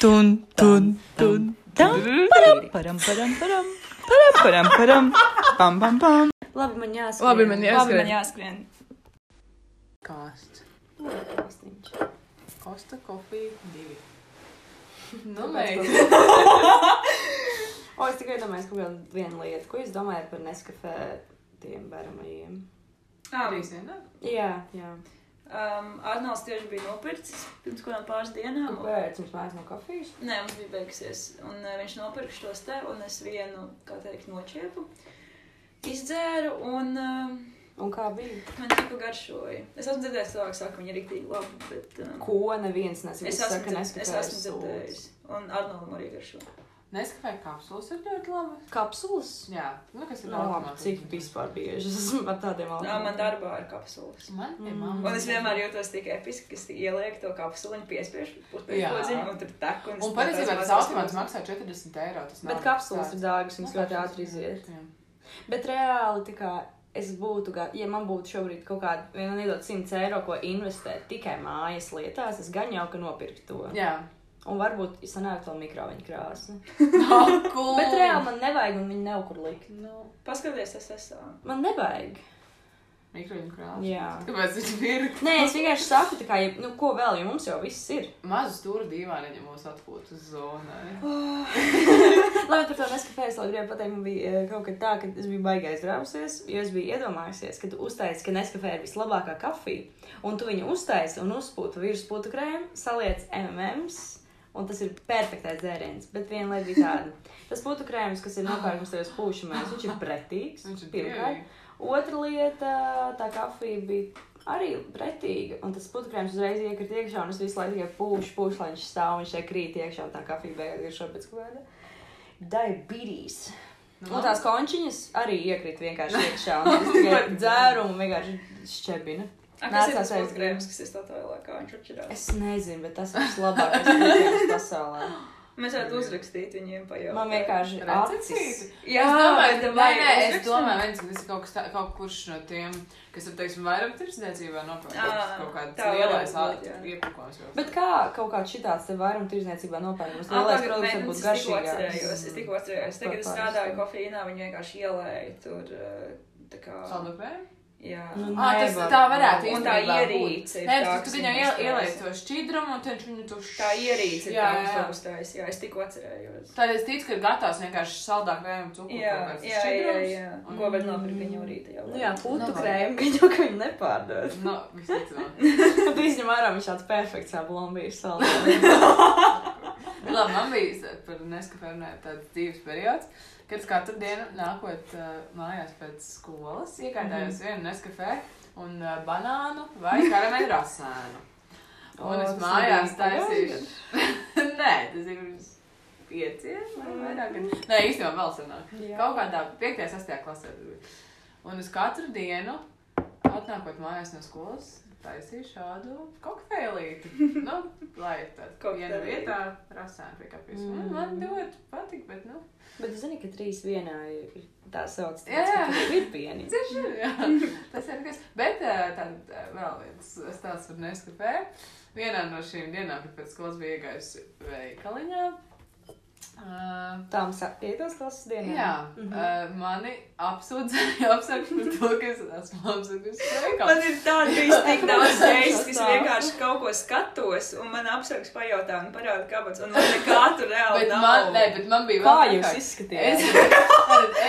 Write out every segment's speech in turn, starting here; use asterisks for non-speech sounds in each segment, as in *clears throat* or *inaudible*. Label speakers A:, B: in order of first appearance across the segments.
A: Tun, tun, tun, tun.
B: Param, param, param, param, param, param, param, pam, pam, pam.
C: Labi, man jāsaka.
D: Labi, man
A: Labi,
D: jāskrien.
A: man jāskrien.
D: Kāsts.
C: jāsaka.
D: Kosta kofija *laughs* divi.
C: Nu,
A: *laughs*
C: o, es tikai domāju, ka vēl viena lieta, ko jūs domājat par neskafē tiem bērniem.
D: Trīs vienā?
C: Jā, jā.
A: Um, Arnolds tieši bija nopircis pirms kādām pāris dienām.
C: Kāpēc mums mājās no kafijas?
A: Nē, mums bija beigusies. Un uh, viņš nopirka šos te, un es vienu, kā teikt, noķēpu, izdzēru, un uh,
C: Un kā bija?
A: man tikko garšoja. Es esmu dzirdējis, cilvēki saka, viņi ir rīktīgi labi, bet um,
C: Ko neviens nesaka?
A: es, esmu,
C: ka
A: dzird- es esmu dzirdējis. Un Arnoldam arī garšo.
D: Neskafē kapsulas ir ļoti labi.
C: Kapsulas?
D: Jā, nu kas ir
C: Nu, labi,
D: alkohols.
C: cik vispār bieži es *laughs* esmu ar tādiem
A: Nā, man
C: alkoholiem?
A: darbā ir kapsulas.
D: Man pie
C: Mm.
D: mammas.
A: Un es vienmēr jūtos tik episki, ka es ielieku to kapsuliņu, piespiežu
D: Jā.
A: putekļi, un tur tek. Un, es
D: Un patiesībā
A: tāpēc
D: tas
A: esmu-
D: automāts maksā 40 eiro. tas nav
C: Bet kapsulas
D: tāds-
C: ir dārgas,
D: Nu,
C: viņas ļoti
D: kapsulas,
C: ātri
D: jā.
C: iziet.
D: Jā.
C: Bet reāli, tā kā es būtu, ga- ja man būtu šobrīd kaut kāda, viena nedod 100 eiro, ko investēt tikai mājas lietās, es gan jau ka nopirktu to. *laughs*
D: Jā. *laughs*
C: Un varbūt sanāk to mikroviņu krāsu.
D: Cool.
C: Bet reāli man nevajag, un viņi nav kur likt.
D: Nu,
A: Paskaties, es esmu.
C: Man nevajag.
D: mikroņu krāsa. *laughs*
C: Jā.
D: Kāpēc viņš ir?
C: Nē, es vienkārši saku, tā kā, ja, nu, ko vēl, jo mums jau viss ir.
D: Mazu stūra dīvaini ņemos atpūtas zonai.
A: Oh.
C: Labi, par to neskatījos, lai gribētu pateikt, man bija eh, kaut kā tā, ka es biju baigā aizrāvusies, jo es biju iedomājusies, ka tu uztaisīji, ka neskatījā ir vislabākā kafija, un tu viņu uztaisīji un uzpūti virsputu krēmu, saliec MMs. Un tas ir perfektais dzēriens, bet viena lieta bija tāda. Tas būtu krēms, kas ir nopērkams tajos pūšamajos. Viņš ir pretīgs.
D: Viņš ir
C: pirmkārt.
D: dievīgi.
C: Otra lieta, tā kafija bija arī pretīga. Un tas putekļs uzreiz iekrita iekšā, un es visu laiku tikai pūšu, pūšu, lai viņš stāv un šeit krīt iekšā. un Tā kafija beigās ir šāpēc kāda. Diabetes.
D: Nu,
C: Un Nu, tās končiņas arī iekrita vienkārši iekšā. Un es tikai dzērumu vienkārši šķebina.
A: Ak, Tas ir
C: Nācās
A: tas pats
C: aizgūt.
A: grēms, kas ir stāvā lēkā, viņš atšķirās.
C: Es nezinu, bet tas ir vislabākais putekļs pasaulē.
A: Mēs varētu uzrakstīt viņiem pa jau.
C: Man vienkārši acis.
D: Recepcijas.
A: Jā,
D: es domāju,
A: bet
D: ka
A: vai
D: nē, nē, es
A: uzrakstam?
D: domāju, viens, ka tas ir kaut, kas tā, kaut kurš no tiem, kas ir, teiksim, vairāk tirsniecībā nopērkams
A: Ā,
D: kaut kāds
A: tā varētu
D: lielais
A: būt, jā.
D: iepakojums. jau.
C: Bet kā kaut kāds šitāds te vairuma tirzniecībā nopērkams?
A: Ā,
C: Lielais
A: labi,
C: produkts
A: nē, nu,
C: var būt
A: tas tikko
C: garšīgāks.
A: atcerējos, Es tikko atcerējos, tagad es
C: Par
A: strādāju
C: pārsteigumu.
A: kofeīnā, viņi vienkārši ielēja tur. eh, Tā kā.
D: Saldupēm?
A: Jā.
C: Nu,
D: Ā, tas
C: nevar.
D: tā varētu
A: Un
D: īstenībā
A: tā
D: būt.
A: ierīce ir
D: Nē,
A: tā,
D: tas
A: kas
D: tu viņai
A: viņam
D: iel- ieliec
A: uztaisa.
D: to šķidrumu, un tad viņš viņu tur
A: Tā ierīce ir
D: Jā,
A: tā,
D: jā, jā.
A: kas uzstājas. Jā, es tikko atcerējos.
D: Tad es ticu, ka ir gatavs vienkārši saldāk vējam cukuru.
A: Jā,
D: kaut kāds
A: jā, jā,
D: šķidrums.
A: jā. Ko vēl nopirkt viņa rītā jau?
C: Nu jā, putu
D: Nav.
C: krēmu, gan jau ka viņi nepārdod.
D: Nu, visticamāk.
C: *laughs* Tad izņem ārā viņš tāds perfekts ablombīrs salāts.
D: Nu, Labi, man bija s- par neskafēju runājot tāds dzīves periods, kad es katru dienu nākot uh, mājās pēc skolas, iegādājos mm
C: Mhm.
D: -hmm. vienu neskafē un uh, banānu vai karameļu rasēnu. Un
C: O,
D: es
C: tas
D: mājās
C: nebija pagājušajā
D: taisīju. *laughs* Nē, tas ir pirms pieciem vai vairāk.
C: Mhm.
D: gadu. Nē, īstenībā vēl senāk.
C: Jā.
D: Kaut kādā 5. 6. klasē tas bija. Un es katru dienu, atnākot mājās no skolas, taisīju šādu kokteilīti. nu, lai tāds kaut kādā
A: Kokteilīti.
D: vietā rasētu pie kafijas. Mm.
C: Mm.
D: Man ļoti patīk, bet, nu,
C: Bet zini, ka trīs vienā ir tā sauc.
D: Jā, jā.
C: Ir pieni.
D: Tieši, jā. Tas ir kas. Bet ā, tad ā, vēl viens stāsts par Neskapē. Vienā no šīm dienām, kad pēc skolas bija iegājusi veikaliņā, ā,
C: Tām sa- piektos klases dienā.
D: jā,
C: Mhm.
D: ā, mani *laughs* apsūdzēja apsakšu par to, ka es esmu apsakšu veikalu.
A: Man ir tāda bijis *laughs* tik daudz reizes,
C: Es
A: ka es
C: tā.
A: vienkārši kaut ko skatos, un man apsargs pajautā, un parāda, kāpēc, un man nekā tur reāli
D: Bet
A: nav.
D: man, nē, bet man bija
C: Kā
D: vēl
C: jūs
D: trakāk.
C: izskatījāt?
D: Es, *laughs*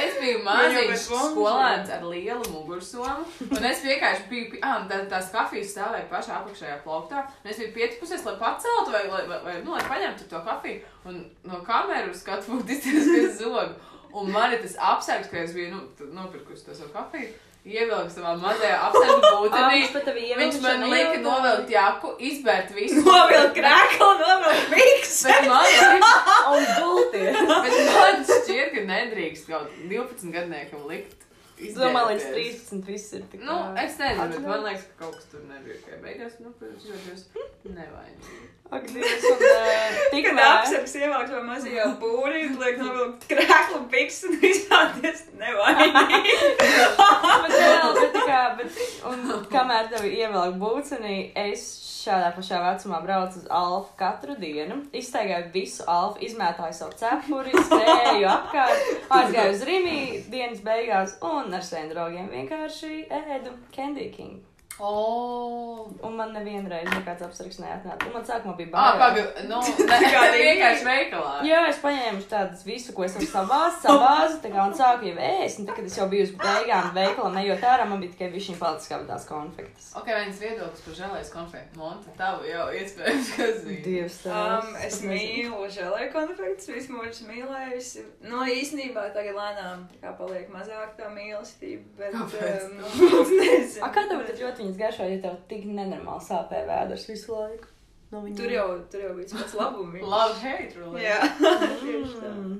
D: es biju
A: Viņam
D: mākslinieks,
A: bez vungas,
D: skolēns ar lielu mugursomu. Un es vienkārši biju pie ah, tā, tās kafijas stāvēja pašā apakšējā plauktā. Un es biju pietupusies, lai paceltu vai, vai, vai, vai nu, lai paņemtu to kafiju. Un no kameras skatu punktu izskatījās zogu. Un man ir tas apsargs, ka es biju nu, t- nopirkusi to savu kafiju. Ievilku savā mazajā apsargu
C: *laughs*
D: būtenī.
C: Viņš pat tevi
D: Viņš man lika novilkt jāku, izbērt visu.
A: Novilkt krēklu, novilkt miksu.
D: Bet man lika
C: Un gulties.
D: Bet man šķiet, ka nedrīkst kaut 12 gadniekam likt
C: Es domāju, līdz 13 viss ir tik
D: Nu, es nezinu, bet
C: Atļauts.
D: man liekas, ka kaut kas tur nebija. Ka beigās, nu, protams, jūtos nevainīgi.
C: Ak, Dievs, un uh,
A: Tikā
C: tikmēr...
A: apsevis ievākt to mazajā būrī, un liek novilkt krēklu biks un izrādies nevainīgi.
C: Bet vēl, bet tā kā, bet, un kamēr tevi ievelk būcenī, es šādā pašā vecumā braucu uz Alfa katru dienu, iztaigāju visu Alfa, izmētāju savu cepuri, spēju apkārt, aizgāju uz Rimī dienas beigās un ar saviem draugiem vienkārši ēdu Candy King.
D: Oh.
C: Un man nevienreiz nekāds apsargs neatnāca. Un man sākumā bija
D: Ah,
C: bail.
D: pagaidi, nu, tā kā vienkārši veikalā.
C: Jā, es paņēmu tādu visu, ko esmu savās, savās, tā kā un sāku jau ēst, un tad, kad es jau biju uz beigām veikalam, ejot ārā, man bija tikai višķiņ palicis kā tās konfektes.
D: Ok, viens viedoklis par žēlēs konfekti. Monta, tavu jau iespējams, ka zini.
C: Dievs,
A: Um, es mīlu žēlēju konfekts, vismaz esmu mīlējusi. No īstenībā tagad lēnām tā kā paliek mazāk tā mīlestība, bet
D: Kāpēc?
A: um, *laughs* nezinu.
C: A kā tev ir ļoti viņas garšā, ja tev tik nenormāli sāpē vēders visu laiku? No viņiem?
A: Tur jau, tur jau bija pats
C: *laughs*
A: labumi.
D: Love, hate, really.
A: Jā, *laughs* tieši tā.
C: Mm.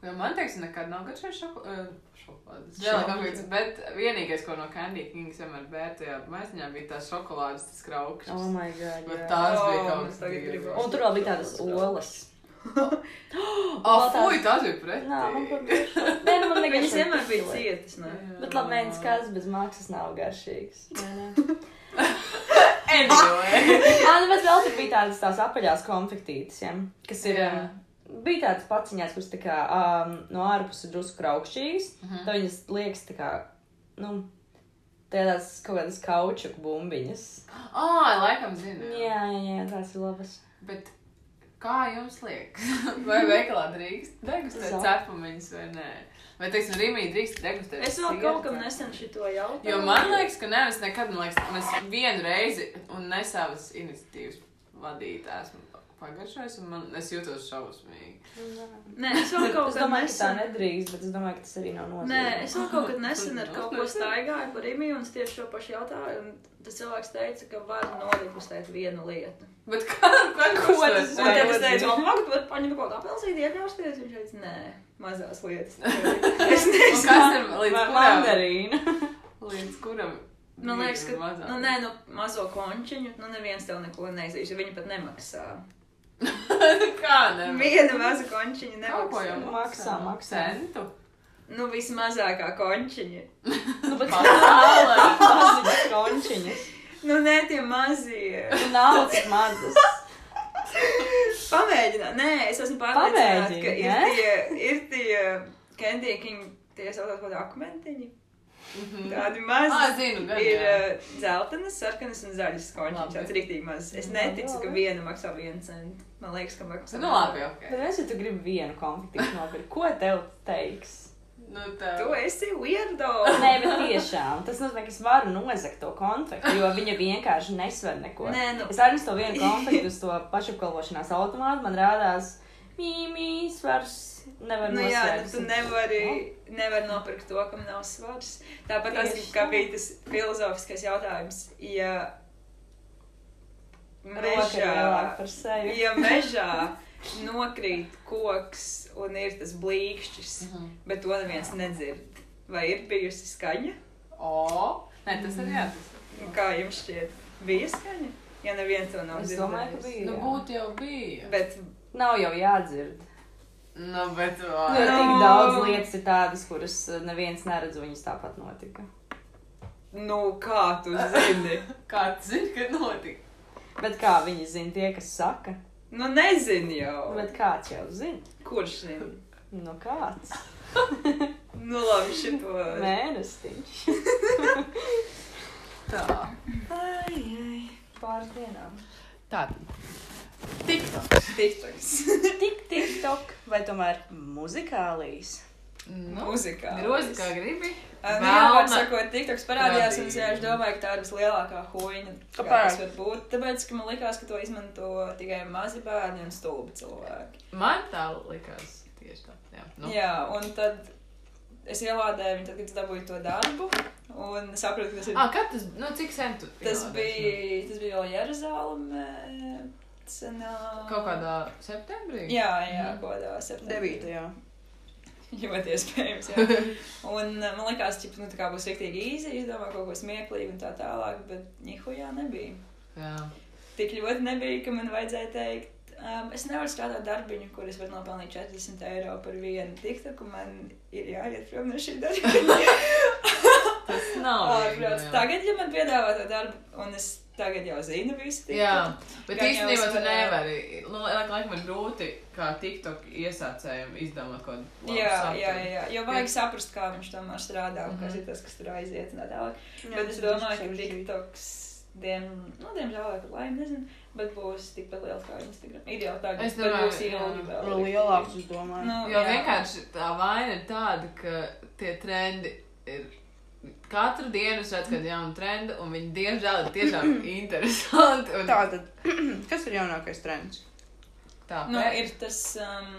D: Jo Nu, man teiks, nekad nav gudrs šokolādes.
C: Šokolādes.
D: Jā, kāpēc, bet vienīgais, ko no Candy Kings vienmēr bērtajā maisiņā bija tās šokolādes, tas
C: Oh
D: kraukšas.
C: my god,
D: Bet
C: jā.
D: tās
A: Oh,
D: bija kaut
A: mēs
D: kas
A: tagad
D: dievi.
A: gribam.
C: Un tur vēl bija tādas olas.
D: Ah,
C: vēl
D: fuj,
C: tās-
D: tās bija
C: Nā, man
D: pretī.
C: patīk. Nē, nu, man
A: Viņas
C: negaršo
A: vienmēr bija
C: pilē.
A: cietas, ne?
C: Bet labi, nē,
D: *laughs*
C: skats bez maksas nav garšīgs. *laughs* Nē, nē.
D: Anyway.
C: Jā, nu, bet vēl tur bija tādas tās apaļās konfektītes, ja, kas ir.
D: *laughs* Jā.
C: Um, bija tādas paciņas, kuras tā kā, um, no ārpuses drusku kraukšķīgas.
D: Mhm.
C: Tad viņas liekas, tā kā, nu, tādas kaut kādas kauču bumbiņas.
D: Ah, laikam zinu.
C: Jā, jā, jā tās ir labas.
D: Bet kā jums liekas? *laughs* Vai veikalā drīkst degustēt
C: Zap.
D: cepumiņas vai nē? Vai, teiksim, Rīmī drīkst degustēt?
A: Es vēl
D: sieru?
A: kaut kam nesen šito jautāju.
D: Jo man liekas, ka nē, es nekad, man liekas, mēs vienu reizi un ne savas iniciatīvas vadīt esmu pagaršojis, un man, es jūtos šausmīgi.
A: Nē, es
C: *laughs*
A: vēl kaut
C: Es
A: kam
C: domāju, ka tā
A: nesen.
C: nedrīkst, bet es domāju, ka tas arī nav
A: Nē,
C: nozīmīgi.
A: es vēl kaut kad nesen ar kaut ko staigāju par imiju, un es tieši šo pašu jautāju. un Tas cilvēks teica, ka var nodegustēt vienu lietu.
D: Bet kā, ko,
C: Ko
D: kurš
C: tas
A: Un
D: to
A: tad
C: nozīmē?
A: es
C: Vai
A: teicu,
C: nodzīvi?
A: man labi, tu vari paņemt kaut kādu apelsīnu, iekļausties. Viņš teica, nē, mazās lietas. Es
D: Un
A: nezinu.
D: Kas ir līdz kuram?
A: *laughs*
C: mandarīna.
D: Līdz kuram?
A: Man liekas,
D: ir
A: ka,
D: mazāk?
A: nu, nē, nu, mazo končiņu, nu, neviens tev neko neizdarīs, jo viņi pat nemaksā.
D: *laughs* kā ne?
A: Viena maza končiņa
D: Kaut ko jau
A: nemaksā.
C: Maksā, maksā.
D: Centu.
A: Nu, vismazākā končiņa.
C: Nu, bet tā *laughs*
D: Pasaulē.
C: ir maziņas končiņas.
A: Nu, nē, tie mazie.
C: Un *laughs* Naudas mazas.
A: Pamēģināt, nē, es esmu pārliecināta,
C: Pamēģini,
A: ka ir
C: nē?
A: tie, ir tie Candy King, tie saucās kaut kādi akmentiņi. Tādi
D: Ah,
A: mazi.
D: zinu, gan.
A: Ir
C: eh,
D: jā.
A: uh, dzeltenas, sarkanas un zaļas končiņas.
D: Labi.
A: Tāds rīktīgi maz. Es
C: Labi,
A: neticu, ka
C: labi.
A: viena maksā vienu centu. Man liekas, ka maksā.
D: Nu, labi, ok.
C: Bet es jau gribu vienu konfliktu nopirkt. Ko tev teiks?
D: Nu, tā.
A: Tu esi weirdo.
C: *laughs* Nē, bet tiešām tas nozīmē, ka es varu nozagt to konfliktu, jo viņa vienkārši nesver neko.
A: Nē, nu.
C: Es aiznesu to vienu konfliktu uz to pašapkalpošanās automātu, man rādās mīmijas svars. Nevar
A: Nu, jā, nu,
C: nosvērt. Nu?
A: tu nevari, nevari nopirkt to, kam nav svars. Tāpat tas
C: Tieši
A: kā
C: tā.
A: bija tas filozofiskais jautājums. Ja
C: Roka ir lielāka
A: mežā,
C: par sevi.
A: ja mežā nokrīt koks un ir tas blīkšķis,
D: Mhm.
A: bet to neviens nedzird, vai ir bijusi skaņa?
D: O, nē, tas ir jāatzīst.
A: Un Kā jums šķiet, bija skaņa? Ja neviens to nav
C: Es domāju,
A: dzirdējis?
C: ka bija.
D: Nu,
C: jā.
D: būtu jau bija.
A: Bet
C: Nav jau jādzird.
D: Nu, bet.
C: Jo
D: vai-
C: tik
A: Nu.
C: daudz lietas ir tādas, kuras eh, neviens neredz, un viņas tāpat notika.
A: nu, kā tu zini?
D: Kāds zina, kad notika?
C: Bet kā viņi zina, tie, kas saka,
A: Nu, nezinu jau.
C: bet kāds jau zina?
A: Kurš zina?
C: Nu kāds?
A: Nu, labi, šito.
C: Mēnesiņš.
D: Tā.
A: Ai, ai.
C: Pāris dienām. *laughs*
D: Tātad. TikTok.
A: TikToks.
C: Tik, tik, tok, vai tomēr muzikālijas?
D: Nu,
A: Mūzikā.
D: grozi, kā gribi.
A: Ā, Nu, jā,
D: Velna.
A: var sakot, TikToks parādījās, un es
D: Radīja.
A: vienkārši domāju, ka tā ir vislielākā huīņa.
C: Kāpēc?
A: Tas var būt tāpēc, ka man likās, ka to izmanto tikai mazi bērni un stulbi cilvēki.
D: Man tā likās tieši tā. Jā. Nu.
A: Nu. Jā, un tad es ielādēju viņu, tad, kad es dabūju to darbu, un sapratu, ka tas ir.
D: Ah, kad tas, nu, cik sen tu?
A: tas,
D: ielādēsi?
A: bija, tas bija vēl Jeruzaleme.
D: Kaut kādā septembrī?
A: Jā, jā,
D: Mhm.
A: kaut kādā septembrī.
C: Devītajā.
A: Ļoti iespējams.
D: *laughs*
A: Jā. *laughs* Un eh, man liekas, ka nu, tā kā būs rīktīgi īsi, izdomā kaut ko smieklīgu un tā tālāk, bet nihujā nebija.
D: Jā.
A: Tik ļoti nebija, ka man vajadzēja teikt. Um, es nevaru strādāt darbiņu, kur es varu nopelnīt 40 eiro par vienu tiktu, man ir jāiet prom no šī
D: *laughs*
A: darba.
D: Tas nav.
A: Ārprāts.
D: viegli, jā.
A: Tagad, ja man piedāvā to darbu, un es tagad jau zinu visu, tik,
D: Jā, bet
A: Gan jau
D: īstenībā
A: es
D: tu
A: varēju.
D: nevari. Nu, laik, laik man grūti, kā TikTok iesācējiem izdomāt kaut ko.
A: jā, jā, jā, jo vajag saprast, kā viņš tomēr strādā un
D: Mhm.
A: kas ir tas, kas tur aiziet un tā tālāk. Bet es domāju, ka TikToks, diem, nu, diemžēl, vai par laimi, nezinu, bet būs tikpat liels kā Instagram. Ir jau tā,
D: Es
A: ka
D: domāju,
A: būs
D: jā.
A: ilgi vēl.
C: Vēl lielāks, es domāju.
A: Nu,
D: Jo
A: jā.
D: vienkārši tā vaina ir tāda, ka tie trendi ir. Katru dienu es redzu, kad ir jauna trenda, un viņi diemžēl ir tiešām interesanti. Un...
C: Tā tad, *clears throat* kas ir jaunākais trends?
D: tā
A: Nu, ir tas um,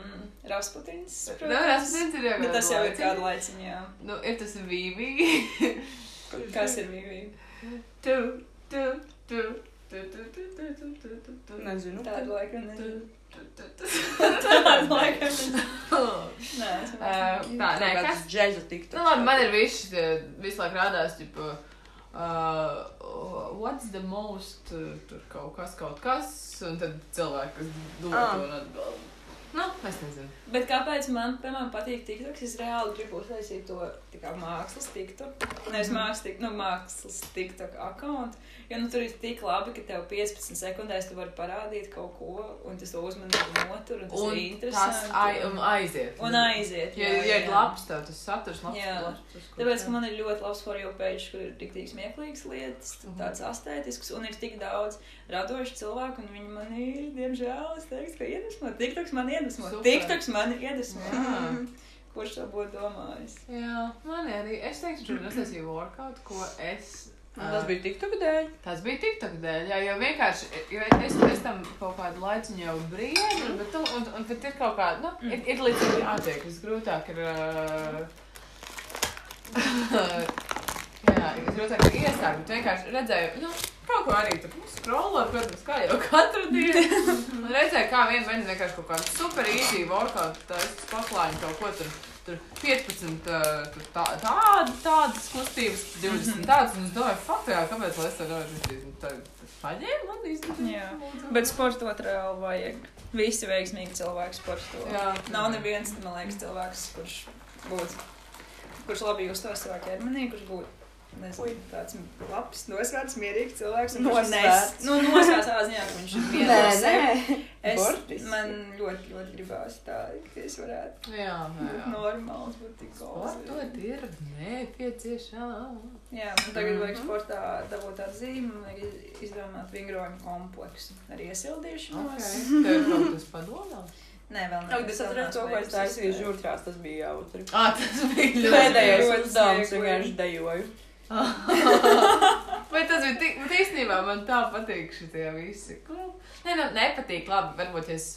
A: Rasputins,
D: Nu, Rasputins ir jau
A: Bet
D: kādu
A: tas jau ir
D: laiciņu.
A: kādu laiciņu, jā.
D: Nu, ir tas
A: *laughs*
D: vīvi.
A: Kas ir Vivi?
D: tu, tu, tu, tu, tu, tu, tu, tu, tu, tu, tu.
C: Nezinu.
A: Tādu laiku
D: Nu, Tu,
A: nezinu.
D: tu, tu, tu.
A: *laughs* Tādu laiku nezinu. Nē,
D: *laughs*
A: es
D: Ā,
A: nezinu.
D: Tā, nē, kas
C: Kāds džēza tiktu?
D: Nu, labi, man ir viss, visu laiku rādās, tipo, uh, what's the most, uh, tur kaut kas, kaut kas, un tad cilvēki, kas
C: Ah.
D: domā un atbild. Nu, es nezinu.
A: Bet kāpēc man, piemēram, patīk TikToks? Es reāli gribu uztaisīt to tā kā mākslas TikTok. Nevis mākslas, tik- nu, mākslas TikTok akkontu. Jo nu, tur ir tik labi, ka tev 15 sekundēs tu vari parādīt kaut ko, un tas tev uzmanību notur, un tas un ir
D: Un tas
A: interesanti.
D: ai, un aiziet.
A: un aiziet.
D: Ja, ja ir labs tev, tas saturs labs.
A: Jā.
D: labs, tas, ko-
A: Tāpēc, ka man ir ļoti labs formulas pēdas, kur ir tik tik smieklīgas lietas,
D: Mhm.
A: tad tāds astētisks, un ir tik daudz radošu cilvēku, un viņi man ir, diemžēl, es teiktu, ka iedvesmo. TikToks man iedvesmo.
D: Super.
A: TikToks man iedvesmo.
D: Jā.
A: Kurš to būtu domājis?
D: Jā, man arī, es teikšu, tur nesasīju workout, ko es.
C: Tas bija tiktu dēļ.
D: Tas bija TikTok dēļ, jā, jo vienkārši, jo es, es tam kaut kādu laiku jau brīnu, bet, tu, un, un, bet ir kaut kāda, nu, ir, ir līdzīgi jātiek, visgrūtāk ir, uh, *laughs* jā, visgrūtāk ir iesākt, bet vienkārši redzēju, nu, kaut ko arī tur scrollā, protams, kā jau *laughs* katru dienu, un redzēju, kā vien vien vienkārši kaut kādu super easy workout, tā es paklāju kaut ko tur. Tur 15 uh, tur tā, tāda, tādas kustības, 20 tādas, un es domāju, faktiski, kāpēc lai es to nevaru izdarīt. Un Tad tad paņēmu un izdarīju.
A: Jā. Bet sportot reāli vajag. Visi veiksmīgi cilvēki sporto.
D: Jā.
A: Nav neviens, man liekas, cilvēks, kurš būtu, kurš labi justos savā ķermenī, kurš būtu nezinu, tāds labs, nosvērts, mierīgs cilvēks. un kurš nes-
C: Nosvērts.
A: Nu, nosvērts tādā ziņā, ka viņš ir
C: Nē,
A: mierīgs.
C: nē.
A: Es,
C: Bortis.
A: man ļoti, ļoti gribās tā, ka es varētu
D: Nu Jā,
A: būt
D: jā.
A: normāls, būt tik
D: To
A: gals.
D: ir nepieciešams.
A: Jā, man tagad
C: Mhm.
A: vajag sportā dabūt atzīmi, man vajag iz- izdomāt vingrojumu kompleksu ar iesildīšanos.
D: Okay. Tev ir kaut kas padomā? *laughs*
A: Nē, vēl
C: Jā, bet es atceros to, ko es taisīju žurtrās, tas bija jautri.
D: Ā, Ah, tas bija ļoti.
A: Pēdējais
C: Pēdējais
A: uzdevums
C: uzdevums
A: vienkārši
C: vienkārši dejoju.
D: *laughs* Bet tas bija tik, bet īstenībā man tā patīk šitie visi. Ko? Nē, nu, nepatīk, labi, varbūt, ja es,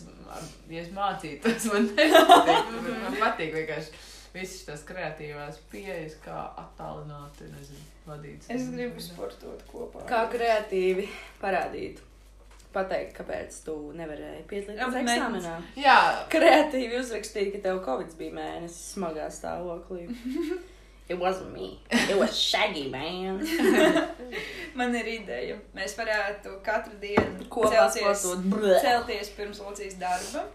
D: ja es mācītos, *laughs* man nepatīk. bet Man patīk vienkārši visas tās kreatīvās pieejas, kā attālināt, nezinu, vadīt.
A: Es gribu sportot kopā.
C: Kā kreatīvi parādīt, pateikt, kāpēc tu nevarēji piedalīties
A: Apmēram.
C: eksāmenā.
D: Jā,
C: Kreatīvi uzrakstīja, ka tev Covid bija mēnesis smagā *laughs* stāvoklī. It wasn't me. It was Shaggy man.
A: Man ir ideja. Mēs varētu katru dienu
C: Kopā sportot. Bleh.
A: celties pirms Lucijas darba,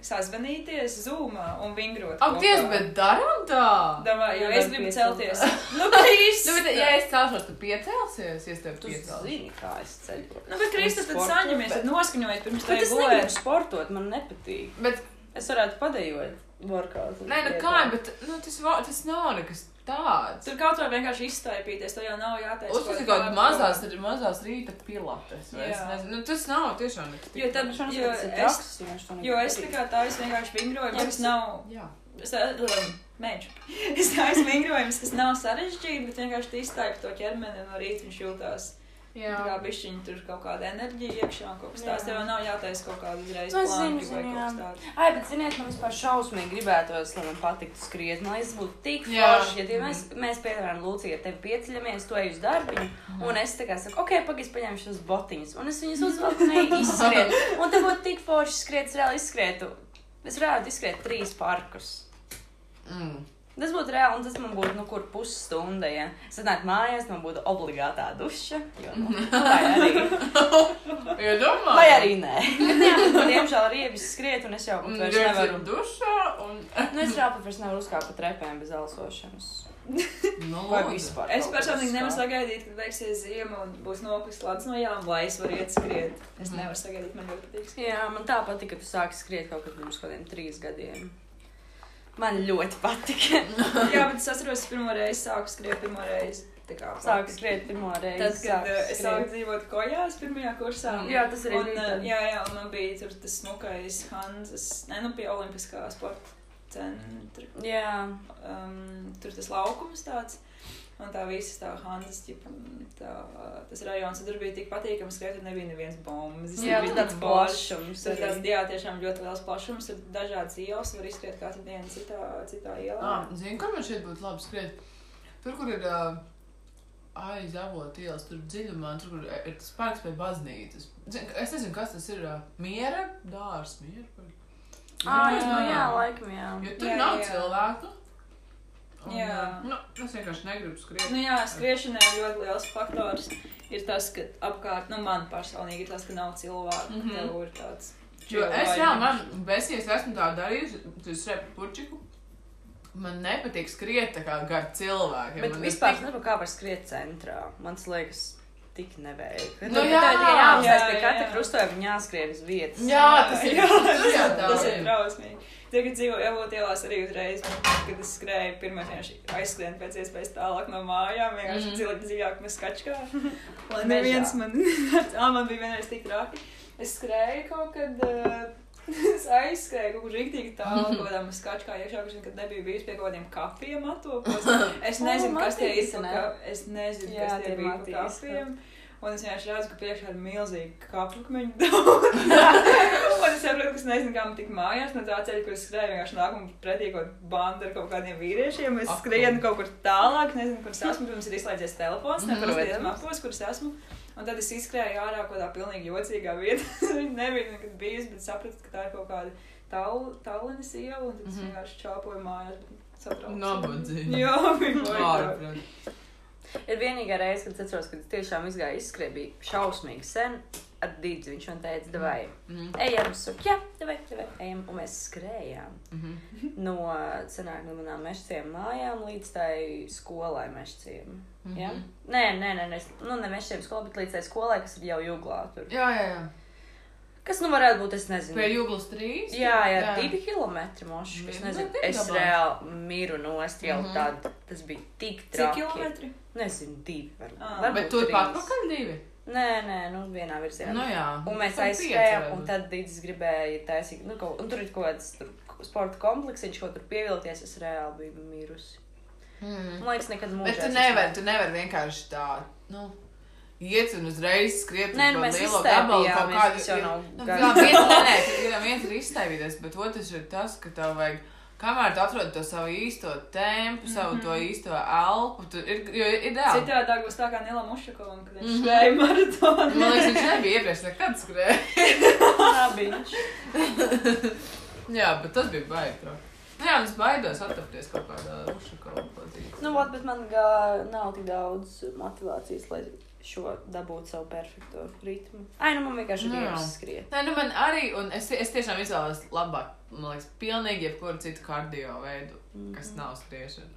A: sazvanīties zūmā un vingrot. kopā.
D: apties, bet darām tā.
A: Domā, jo
C: Jā,
A: es
C: bet
A: gribu
C: piecelties.
A: celties. Nu,
D: *laughs*
A: Krīsts!
D: Nu, bet, ja es celšos, tad piecelsies, ja es tev
C: Tu
D: piecelšu.
C: zini, kā es ceļoju.
A: Nu, bet Krīsta, tad
C: Sportot,
A: saņemies,
C: bet-
A: tad noskaņojies pirms
C: Bet
A: tev
C: es negribu sportot, man nepatīk.
D: Bet,
C: Es varētu padējot workout.
D: nē, nu kā, bet, nu, tas, va- tas nav nekas tāds.
A: Tur kaut kā vienkārši izstaipīties, to jau nav jāteic.
D: Uzskatīt kaut kādu mazās, mazās rīta pilates, vai es
A: Jā.
D: nezinu, nu, tas nav tiešām nekas.
A: Jo tad,
C: Šodien
A: jo
C: tas ir
A: es,
C: traks, un es to
A: jo es tā
C: negribu
A: kā tā, es vienkārši vingroju, bet es nav
D: Jā.
A: Es mēģinu. *laughs* Es tādu vingrojumu, tas nav sarežģīti, bet vienkārši iztaipu to ķermeni un no rīta viņš jutās.
D: Jā.
A: Tā kā bišķiņa tur kaut kāda enerģija iekšā un kaut kas tāds.
C: Jā.
A: Tev jau nav jātaisa kaut kāda uzreiz
C: Nu, es
A: plāna
C: zinu,
A: vai
C: zinu,
A: kaut
C: jā.
A: kas tāds.
C: Ai, bet ziniet, man vispār šausmīgi gribētos, lai man patiktu skriet. Man liekas, būtu tik
D: Jā.
C: forši, ja tie mēs, mēs piemēram, Lūcija, ar tevi pieceļamies, to eju uz darbu,
A: Mhm.
C: un es tā kā saku, ok, pagaidi, paņemšu šos botiņus, un es
A: *laughs*
C: viņus uzvelku un eju izskriet. Un te būtu tik forši skriet, es reāli izskrietu. Es varētu izskriet trīs parkus.
D: *laughs* Mm.
C: Tas būtu reāli, un tas man būtu, nu, kur pusstunda. Ja. Sanāk, mājās man būtu obligātā duša. Jo, nu,
A: *laughs*
C: vai, arī,
D: Ja domā,
C: vai arī nē. *laughs* Jā, bet, diemžēl rievis skriet, un es jau pat vairs nevaru.
D: mm, dušā un...
C: *laughs* Nu, es jau pat vairs nevaru uzkāpt pa trepēm bez elsošanas.
D: Nu,
C: Vai vispār?
A: Es
C: kaut kas
A: personīgi nevaru
C: kā.
A: sagaidīt, kad beigsies zima un būs nokusis lats no jām, lai es varu iet skriet. Es
D: Mhm.
A: nevaru sagaidīt, man ļoti patīk. skriet.
C: Jā, man tā patika, ka tu sāki skriet kaut kad pirms kaut kādiem trīs gadiem. Man ļoti patika.
A: Jā, bet es atceros, es pirmo reizi sāku skriet, pirmo reizi. tā kā-
C: *laughs* Sāku skriet pirmo reizi.
A: Tad, kad
C: sāku
A: eh, es
C: skriet.
A: sāku dzīvot kojās pirmajā kursā.
C: Jā, tas arī
A: Un,
C: bija
A: eh,
C: tad.
A: jā, jā, un man bija tur tas smukais Hanzas, ne nu pie Olimpiskā sporta centra.
C: Jā,
A: Um, tur tas laukums tāds. Un tā visa tā Hanzas, ģip, tā, tas rajons, un tur bija tik patīkami skriet, un nebija nevienas bombas. Tas
C: jā
A: bija
C: bija tāds
A: tik forši.
C: plašums.
A: Tur ir
C: arī.
A: tāds, jā, tiešām ļoti liels plašums, tur dažādas ielas var izskriet katru dienu citā, citā ielā.
D: Ah, Zini, kur man šeit būtu labi skriet? Tur, kur ir uh, aiz avota ielas, tur dziļumā, tur, kur ir tas parks pie baznīcas. Zini, es nezinu, kas tas ir. Uh, miera dārs, miera parks.
C: Ah,
D: Jā.
C: jā, nu jā, laikam, jā.
D: Jo tur
A: Jā,
D: jā, nav
A: jā.
D: jā. cilvēku. Un,
A: Jā.
D: ā, Nu, es vienkārši negribu skriet.
A: Nu jā, skriešanai ļoti liels faktors ir tas, ka apkārt, nu man personīgi ir tas, ka nav cilvēku. Mm
D: Mhm.
A: -hmm. Tev ir tāds.
D: Jo es,
A: chill
D: jā,
A: vibe.
D: man besies, esmu tā darījusi, tas repu purčiku. Man nepatīk skriet tā kā gar cilvēkiem.
C: Bet
D: man ir
C: vispār *laughs*
D: tik-
C: nezinu, kā var skriet centrā. Man tas liekas, tik nevajag.
D: Nu
C: Nu,
D: jā,
C: jā, jā, jā, jā,
A: jā,
C: pie katra
A: jā.
C: krustojuma un jāskrien uz vietas.
D: Jā, tas ir.
A: jā,
D: tur jau tā
A: tas ir
D: ir.
A: drausmīgi. Tagad dzīvoju Elot ielās arī uzreiz, kad es skrēju pirmā dienā, aizskrien pēc iespējas tālāk no mājām, vienkārši
D: Mhm.
A: mm. dzīvot dziļāk mēs kačkā. Lai
C: Mežā.
A: neviens man, *laughs* ā, man bija vienreiz tik traki. Es skrēju kaut kad, ā, *laughs* es aizskrēju kaut kur rīktīgi tālu, kaut kādā mēs kačkā iekšā, kurš nekad nebija bijis pie kaut kādiem kapiem atopos. Es
C: O,
A: nezinu,
C: man
A: kas tie
C: patīk,
A: ir, pa
C: ne?
A: ka- es nezinu,
C: Jā,
A: kas
C: tie
A: tie bija
C: man
A: pa
C: patīk.
A: kapiem. Un es vienkārši redzu, ka priekšā ir milzīgi kāpņu daudz. Un es saprotu, ka es nezinu, kā man tik mājās no tā ceļa, kur es skrēju. Vienkārši nāku un pretī kaut kāda banda ar kaut kādiem vīriešiem. Es
D: Ak,
A: skrienu kaut kur tālāk, nezinu, kur es esmu. Pirms ir izslēdzies telefons,
D: Mhm.
A: nevaru redzēt
C: Protams.
A: mapos, kur es esmu. Un tad es izskrēju ārā kaut kādā pilnīgi jocīgā vietā. *laughs* Viņa nebija nekad bijusi, bet sapratu, ka tā ir kaut kāda tāl- tālrunis iela. Un tad es
D: Mhm.
A: vienkārši čāpoju mājās. bet satraucu.
D: Nabadzīgi.
A: Jā, bija baigi.
D: Ārprāt.
C: Ir vienīgā reize, kad es atceros, kad es tiešām izgāju izskriet, bija šausmīgi sen ar dīdzi. Viņš man teica, davai,
D: Mhm.
C: ejam, es saku, jā, davai, davai, ejam. Un mēs skrējām
D: Mhm.
C: no, senāk, no manām mešciem mājām līdz tai skolai mešciem. Ja?
D: Mhm.
C: Nē, nē, nē, nē, nu, ne mešciem skolai, bet līdz tai skolai, kas ir jau jūglā tur.
D: Jā, jā, jā.
C: Kas nu varētu būt, es nezinu.
D: Pie jūglas trīs.
C: Jā, jā, divi kilometri mošu. Es
D: Vienu
C: nezinu,
D: dienu
C: es
D: dabā.
C: reāli miru nost jau
D: nu, Mhm.
C: tad. Tas bija tik
A: Cik
C: traki.
A: kilometri?
C: Nezinu, divi varbūt.
A: Ā.
C: varbūt
D: Ah. Bet tur
C: trīs.
D: pārpakaļ divi.
C: Nē, nē, nu vienā virzienā.
D: Nu jā.
C: Un mēs
D: Tad
C: aizskrējām,
D: pieci
C: un tad Dīdis gribēja taisīt, nu, kaut, un tur ir kaut kāds tur, sporta komplekss, viņš kaut kur pievilties, es reāli biju mirusi.
D: Mhm.
C: Man liekas, nekad mūžā.
D: Bet tu
C: es
D: nevari, tu nevari vienkārši tā, nu, iet un uzreiz skriet
C: Nē, nu,
D: uz
C: mēs
D: lielo gabalu
C: izstēpījāmies,
D: kaut kādu.
C: tas jau nav
D: Nu,
C: gan-
D: jā, viens,
C: *laughs*
D: nē, nē, tikai viens ir izstāvīties, bet otrs ir tas, ka tev vajag. Kamēr tu atrod to savu īsto tempu, savu mm -hmm. to
C: Mhm.
D: īsto elpu, tad ir, jo ir ideāli.
A: Citādi būs tā kā Nila Mušakovam, kad viņš skrēja maratonu.
D: Mhm. Man
A: *laughs*
D: liekas, viņš nebija iepriekš nekad skrējis.
C: Tā bija.
D: Jā, bet tas bija baigi. traki. Nu Jā, es baidos atrapties kaut kādā lušakā.
C: Nu, vat, bet man gā, nav tik daudz motivācijas, lai šo dabūtu savu perfekto ritmu. Ai, nu man vienkārši
D: Nu
C: ir
D: jā.
C: jāskrien.
D: Nē, nu man arī, un es, es tiešām izvēlos labāk, man liekas, pilnīgi jebkuru citu kardio veidu, mm -hmm. kas
A: Mhm.
D: nav skriešana.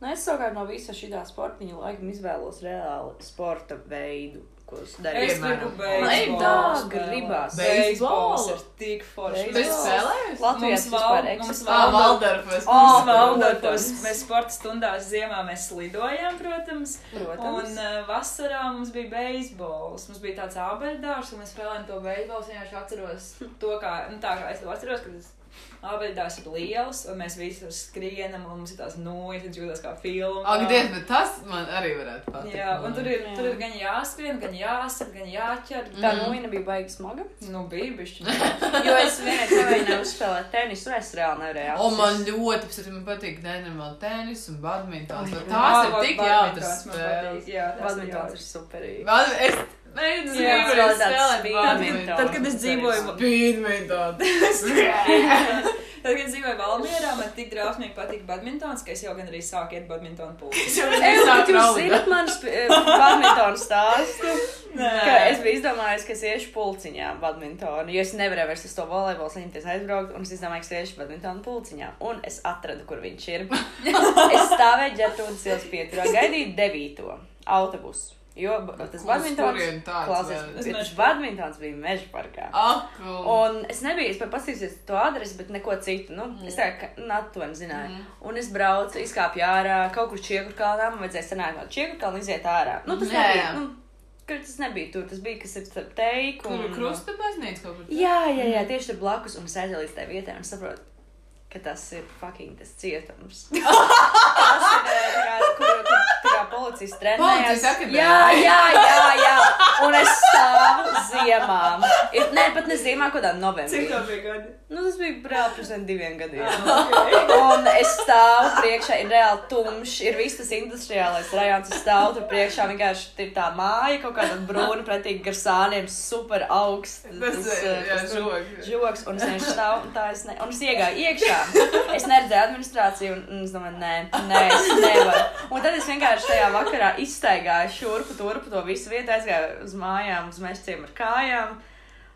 C: Nu, es savukārt no visa šī sportiņa laikam izvēlos reāli sporta veidu, ko es darīju.
A: Es
D: Piemēram.
A: gribu
D: Man
A: beigties.
D: ir
C: tā gribas.
A: Beisbols
D: Beisbolu.
A: ir tik forši.
C: Beisbolu.
D: Bet Ah,
C: Jā.
D: spēlējies?
C: Latvijas
A: Mums
C: vispār
A: val- mums
C: eksistē.
A: val- Valda-
D: Valdarfas.
A: Mēs
C: Ā,
A: valdotos,
C: protams.
A: mēs sporta stundās ziemā mēs lidojām, protams. Un
C: Protams.
A: uh, vasarā mums bija beisbols. Mums bija tāds ābeldārs, un mēs spēlējām to beisbolu. Es vienkārši atceros to, kā, nu, tā, kā es to atceros, kad tas ābeldārs ir liels, un mēs visi tur skrienam, un mums ir tās nojas, un jūtas kā filma.
D: Ak, dievs, bet tas man arī varētu patikt.
A: Jā, un tur ir,
C: Jā.
A: tur ir gan jāskrien, gan jāsit, gan jāķer.
C: Tā noina bija baigi smaga.
A: Nu, bija bišķi.
C: mm. *laughs* Jo es vienreiz nevarēju uzspēlēt tenisu, un es reāli nevarēju.
D: O, man
C: apsist.
D: ļoti patīk, man patīk nenormāli tenis un badmintons. bet
A: Ā,
D: *laughs* Tās ir
A: vai
D: tik eh, jautras
A: badmintons man patīk,
D: spēles.
A: Jā, tas ir
C: Badmintons
A: jautri.
C: ir
D: *laughs*
C: superīgi.
D: Vad, es nezinu,
A: Jā,
D: gribu arī
C: spēlēt
D: spēlēt
C: tāds speed-
D: badmintonu.
A: Tad, kad es dzīvoju
D: Badmintonu.
A: *laughs* Tad, kad dzīvoju Valmjerā, man tik drausmīgi patika badmintons, ka es jau gan arī sāku iet badmintonu
D: *laughs*
A: pulku.
D: Es jau
C: Es
D: nezinu,
C: domāju,
D: kā
C: jūs zināt, man badmintonu stāstu. ka Es
A: Nē.
C: biju izdomājis, ka es iešu pulciņā badmintonu, jo es nevarēju vairs uz to volejbolu saņemties aizbraukt, un es izdomāju, ka es iešu badmintonu pulciņā, un es atradu, kur viņš
D: *laughs*
C: ir. es stāvēju ģērtūdas ielas pieturā, gaidīju devīto autobusu, jo b- tas
D: Uz kurien
C: badmintons,
D: tāds
A: vēl?
C: klausies,
A: Uz
C: tas
A: Mežparku.
C: badmintons bija meža parkā.
D: Aklu.
C: Un es nebiju, es pat paskatījos to adresi, bet neko citu. Nu, mm. Es tā kā aptuveni zināju. Mm. Un es braucu, izkāpu ārā, kaut kur čiekur kalnā, man vajadzēja sanākt no čiekur kalna, iziet ārā. Nu, tas
D: Jā,
C: nebija.
D: jā.
C: Nu, kur tas nebija tur, tas bija kas ir starp teiku.
D: Kur krusta baznīca kaut kur?
C: Jā, jā, jā, tieši tur blakus. Un es aizēju līdz tai vietai un saprotu, ka tas ir fucking tas cietums. tas ir, eh, tā kā- kur- kur tā kā Policists
D: Policijas
C: trenējās.
D: akadēmija.
C: Jā, jā, jā, jā. Un es stāvu ziemā. Ir, ne, pat ne ziemā, kaut kādā novembrī.
A: Cik tev bija *laughs* gadi?
C: Nu, tas bija brāl pirms vien diviem gadiem.
A: Okay.
C: Un es stāvu priekšā, ir reāli tumšs, ir viss tas industriālais rajonis. Es stāvu tur priekšā, vienkārši tur ir tā māja, kaut kāda brūna, pretīgi ar sāniem, super augsts.
D: Tas ir
C: eh,
D: jā,
C: tas tur
D: žogs.
C: Žoks, un es vienkārši stāvu un tā es, ne... un es iegāju iekšā. Es neredzēju administrāciju, un, un es domāju, nē, nē, es nevaru. Un tad es vienkārši tajā vakarā izstaigāju šurpu, turpu to visu vietu, aizgāju uz mājām, uz mežciem ar kājām.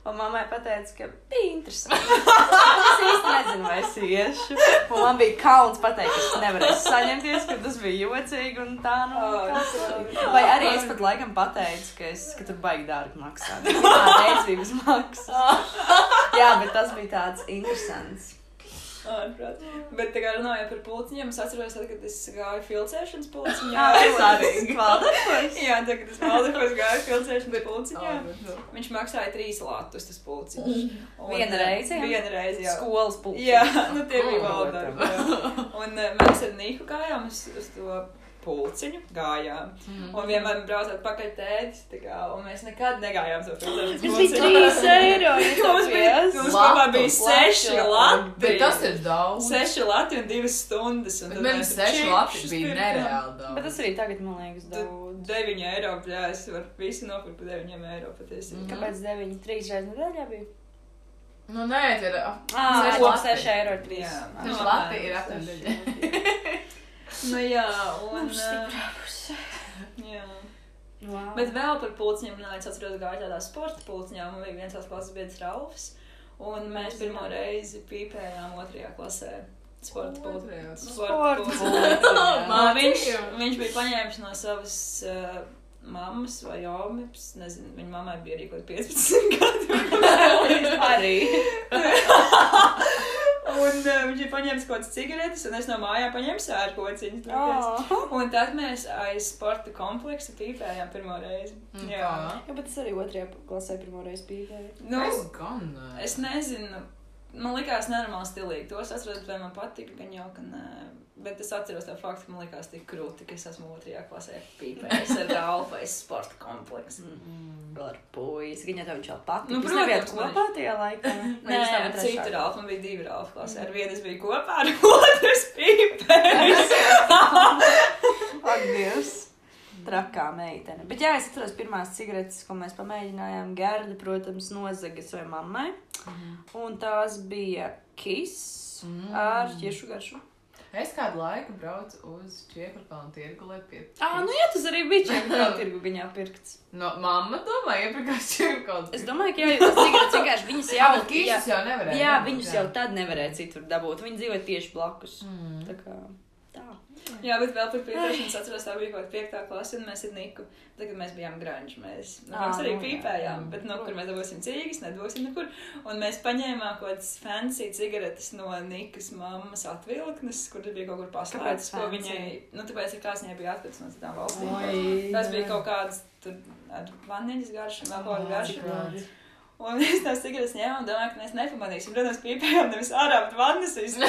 C: Un mammai pateica, ka bija interesanti. *laughs* Es īsti nezinu, vai es iešu. Un man bija kauns pateikt, ka es nevarēju saņemties, ka tas bija jocīgi un tā no. Vai arī es pat laikam pateicu, ka, es, ka tur baigi dārgi maksā. Tā reizības *laughs* maksā. Jā, bet tas bija tāds interesants.
A: Ārprāt. Bet, tā kā runājot par pulciņiem, es atceros, tad, kad es gāju filcēšanas
D: *laughs*
A: pulciņā.
D: Ah,
C: Kvalitatīvs.
A: Jā, tagad es Valdekos gāju filcēšanas pulciņā.
D: Ah,
A: Viņš maksāja trīs latus, tas pulciņš. Un, eh,
C: Vienu reizi, jā?
A: Vienu reizi, jā.
C: Skolas pulks.
A: Jā, nu tie bija
C: Ko?
D: *laughs*
A: valdarbi. jā. Un eh, mēs ar Nīku gājām uz, uz to pulciņu, gājām.
D: Mm.
A: Un vienmēr braucāt pakaļ tētis, tā kā, un mēs nekad negājām to filcēšanas
C: Tas bija
A: pulciņu.
C: 3 eiro. ja
A: Mums bija,
C: tāpēc.
A: mums kopā bija
D: Latus,
A: seši
C: latus.
A: lati.
D: Bet tas ir daudz.
A: *laughs* Seši lati un divas stundas. Un
D: Bet man seši lapi bija nereāli daudz.
C: Bet tas arī tagad, man liekas, daudz.
A: 9 eiro, jā, es varu visu nopirkt par 9 eiro patiesībā.
D: Mhm.
C: Kāpēc 9, 3 reizes nedēļā bija?
D: Nu, nē, tie ir.
C: Ah,
D: Seši
C: 6 eiro.
A: Jā,
D: Seši
A: nu,
D: lati
A: apmēram
D: ir
A: seši. *laughs*
D: apmēram.
A: Nu
D: *laughs*
A: jā, un. eh,
C: Stiprākus.
A: Jā.
C: Wow.
A: Bet vēl par pulciņiem, nē, es atceros, gāju tādā sporta pulciņā, un bija viens tās klases biedrs Ralfs, un mēs pirmo reizi pīpējām otrajā klasē sporta pulciņā. Sporta
C: Sports.
A: pulciņā.
C: Jā.
A: Un Viņš, viņš bija paņēmis no savas uh, mammas vai jomas, nezinu, viņa mammai bija arī kaut kādi 15 *laughs* gadi.
C: Arī.
A: *laughs* un uh, viņš bija paņēmis kaut kādas cigaretes, un es no mājām paņēmu sērkociņu. Oh. Un tad mēs aiz sporta kompleksu pīpējām pirmo reizi.
D: Nu,
A: Jā.
C: Jā, bet es arī otrajā klasē pirmo reizi biju.
A: Nu,
D: Es gan. nē.
A: Es nezinu, man likās nenormāli stilīgi. To es atceros, vai man patika, gan jau, ka nē. Bet es atceros to faktu, ka man likās tik krūti, ka es esmu otrajā klasē pīpējis ar Ralfa aiz sporta kompleksu.
D: Mm.
C: Vēl ar puisi. Viņa tev viņš jau patīk.
A: Nu,
C: Jūs nebijāt
A: protams,
C: kopā tajā
A: *laughs*
C: laikā. Vai
A: Nē, ar
C: jūs nevat
A: citu
C: *laughs* trešā?
A: Ralfu man bija divi Ralfa klasē. Ar vienu es biju kopā, ar otru es
C: *laughs*
A: pīpēju.
C: Ak, Dievs! Mm. Trakā meitene. Bet, jā, es atceros pirmās cigaretes, ko mēs pamēģinājām. Gerda, protams, nozaga savai mammai.
A: Mhm.
C: Un tās bija kis
D: Mm.
C: ar ķiešu garšu.
D: Es kādu laiku braucu uz Čiekurkalnu tirgu, lai pietu.
C: Ā, nu jā, tas arī bija *laughs* ķiešu tirgu viņā pirkts.
D: No, mamma domā, iepirkās Čiekurkalnu
C: Es domāju, ka jā, jo tas cigaretes vienkārši viņas jau...
D: Jā, bet kīšas jau nevarēja.
C: jā,
D: dabūt,
C: viņas jau tad nevarēja citur dabūt. Viņi dzīvoja tieši blakus.
D: Mm.
C: Tā kā... Tā.
A: Jā, bet vēl par pīpēšanu es atceros, tā bija kaut kāda piektā klase, un mēs ar Niku, tagad mēs bijām grunge. Mēs, nu,
C: Ā,
A: mēs arī
C: nu, jā.
A: pīpējām, bet no kur mēs dabūsim cīgas, nedosim nekur. Un mēs paņēmām kaut kādas fancy cigaretes no Nikas mammas atvilknes, kuras bija kaut kur paslēptas,
C: Kāpēc
A: ko
C: fancy?
A: viņai, nu, tāpēc, ka kāds viņai bija atvilkts no citām valstīm.
D: Oi,
A: Tas bija kaut kāds tur ar vaniļas garšu, vēl kaut kāda
D: *laughs* Cik
A: garša.
D: labi.
A: Un mēs tās cigaretes ņēmām un domājām, ka mēs nepamanīsim. Protams, pīpējām nevis ārā, bet vannas
D: *laughs*
A: izturā.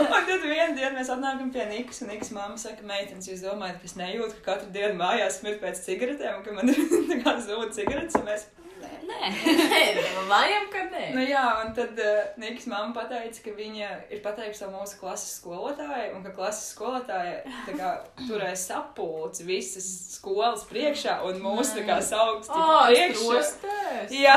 A: un tad vienā dienā mēs atnākam pie Nikas, un Nikas mamma saka, meitenes, jūs domājat, ka es *laughs* nejūtu, ka katru dienu mājās smird pēc cigaretēm, un ka man ir tā kā zūd cigaretes, un mēs. "Nē,
D: *laughs*
C: Nē,
D: Vajam, ka nē.
A: Nu, jā, un tad uh, Nikas mamma pateica, ka viņa ir pateikusi to mūsu klases skolotājai, un ka klases skolotāja tā kā, turēs sapulci visas skolas priekšā un mūsu tā kā sauks tik
D: Ā, es
A: priekšā.
D: trostēs.
B: *laughs*
A: Jā,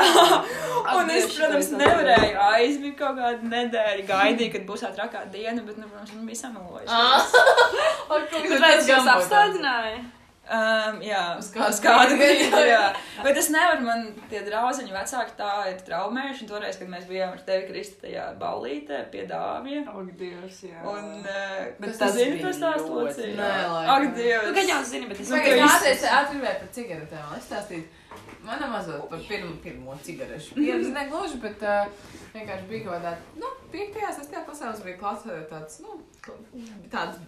A: un es,
D: Atgriežu
A: protams,
D: to
A: nevarēju aizmigt kaut kādu nedēļu, gaidīju, kad būs tā trakā diena, bet, nu, protams, viņi bija
B: Ah.
A: samalojuši.
C: kāpēc jūs apstādināja?
A: Um, jā,
D: Uz kādu
A: uz kādu
D: brīdi,
A: brīdi,
B: *laughs*
A: jā. Bet es nevaru, man tie drauziņi vecāki tā ir traumējuši, un toreiz, kad mēs bijām ar tevi Krista tajā ballītē pie dāvja.
B: Ak, Dievs, jā.
A: Un,
C: Nu,
A: eh,
B: Bet
A: tu
B: tas
A: zini,
B: bija
A: kas tās
B: ļoti-
A: locīja?
D: Nē, laikam.
A: Ak, Dievs.
C: Nu, gan jau zini, bet es
A: Nu,
D: Tagad
A: ka
D: eh, es
A: viss-
D: nācēju atbildēt par cigaretēm. Es stāstīju, mana mazā par pirmo, pirmo
A: *laughs*
D: cigarešu. Pirms negluži, bet uh, vienkārši bija kaut kādā, nu, piektajā, sestajā klasē mums bija klasē tāds, nu, tāds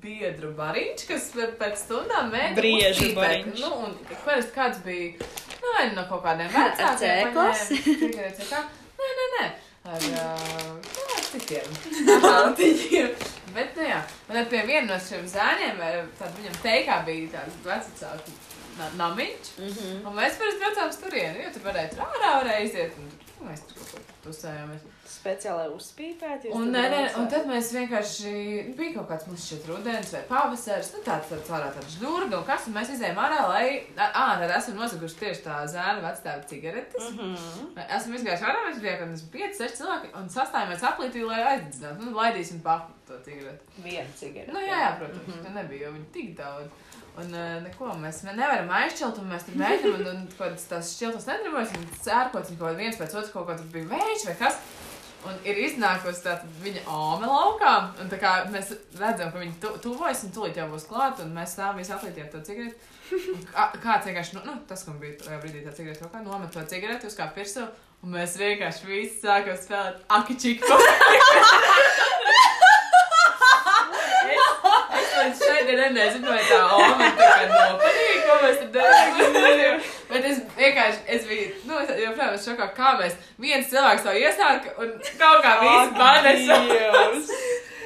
D: biedru bariņš, kas pe- pēc stundām mēģināja.
A: Briežu bariņš.
D: Nu, un parasti kāds bija, nu, vai nu no kaut kādiem vecākiem.
C: C
D: *laughs*
C: klasi.
D: Cigaretes kā? Nē, nē, nē. Ar, uh, nu, ar citiem. *laughs* Atlantiņiem. Bet, nu jā, man ar pie viena no šiem zēniem, eh, tad viņam teikā bija tāds vecāku na- namiņš.
C: Mhm.
D: Un mēs parasti braucām uz turieni, jo tur varēja tur ārā, varēja iziet. Un, tur, nu, mēs tur kaut ko tusējāmies.
C: Speciāli uzspīpēt, jūs
D: Un,
C: tur
D: nē, nē, un
C: braucat.
D: tad mēs vienkārši, nu, bija kaut kāds mums šķiet rudens vai pavasaris, nu tāds tāds ārā tāds žurga un kas, un mēs izējām ārā, lai, ā, tad esam nozaguši tieši tā zēna vecstāva cigaretes.
C: Mhm.
D: Esam izgājuši ārā, mēs bijām kaut kāds 5, 6 cilvēki un sastājāmies aplītī, lai aizdedzinātu. Nu, laidīsim pāri to cigareti.
C: Viena cigarete.
D: Nu, jā, jā, protams,
C: Mhm.
D: mm -hmm. tur nebija jau viņi tik daudz. Un uh, neko mēs ne- nevaram aizšķirt, un mēs tur mēģinām, un, un kaut kādas tās šķiltas nedarbojas, un cērkots, un kaut kāds viens pēc otras kaut kā tur bija vējš vai kas. Un ir iznākusi tā viņa āme laukā, un tā kā mēs redzam, ka viņa tu, tuvojas, un tūlīt jau būs klāta, un mēs stāvam visi aplītījām to cigareti. Un kā- Kāds vienkārši, nu, nu tas, kam bija tajā brīdī tā cigarete rokā, nomet to cigareti uz kā pirkstu, un mēs vienkārši visi sākam spēlēt akičiku. Es līdz šai dienai nezinu, vai tā Oma tā kā nopatīk, ko mēs tur darām. Bet es vienkārši, es biju, nu, es joprojām esmu šokā, kā mēs viens cilvēks to iesāka un kaut kā
B: Ak,
D: visu panesam.
B: Dievs.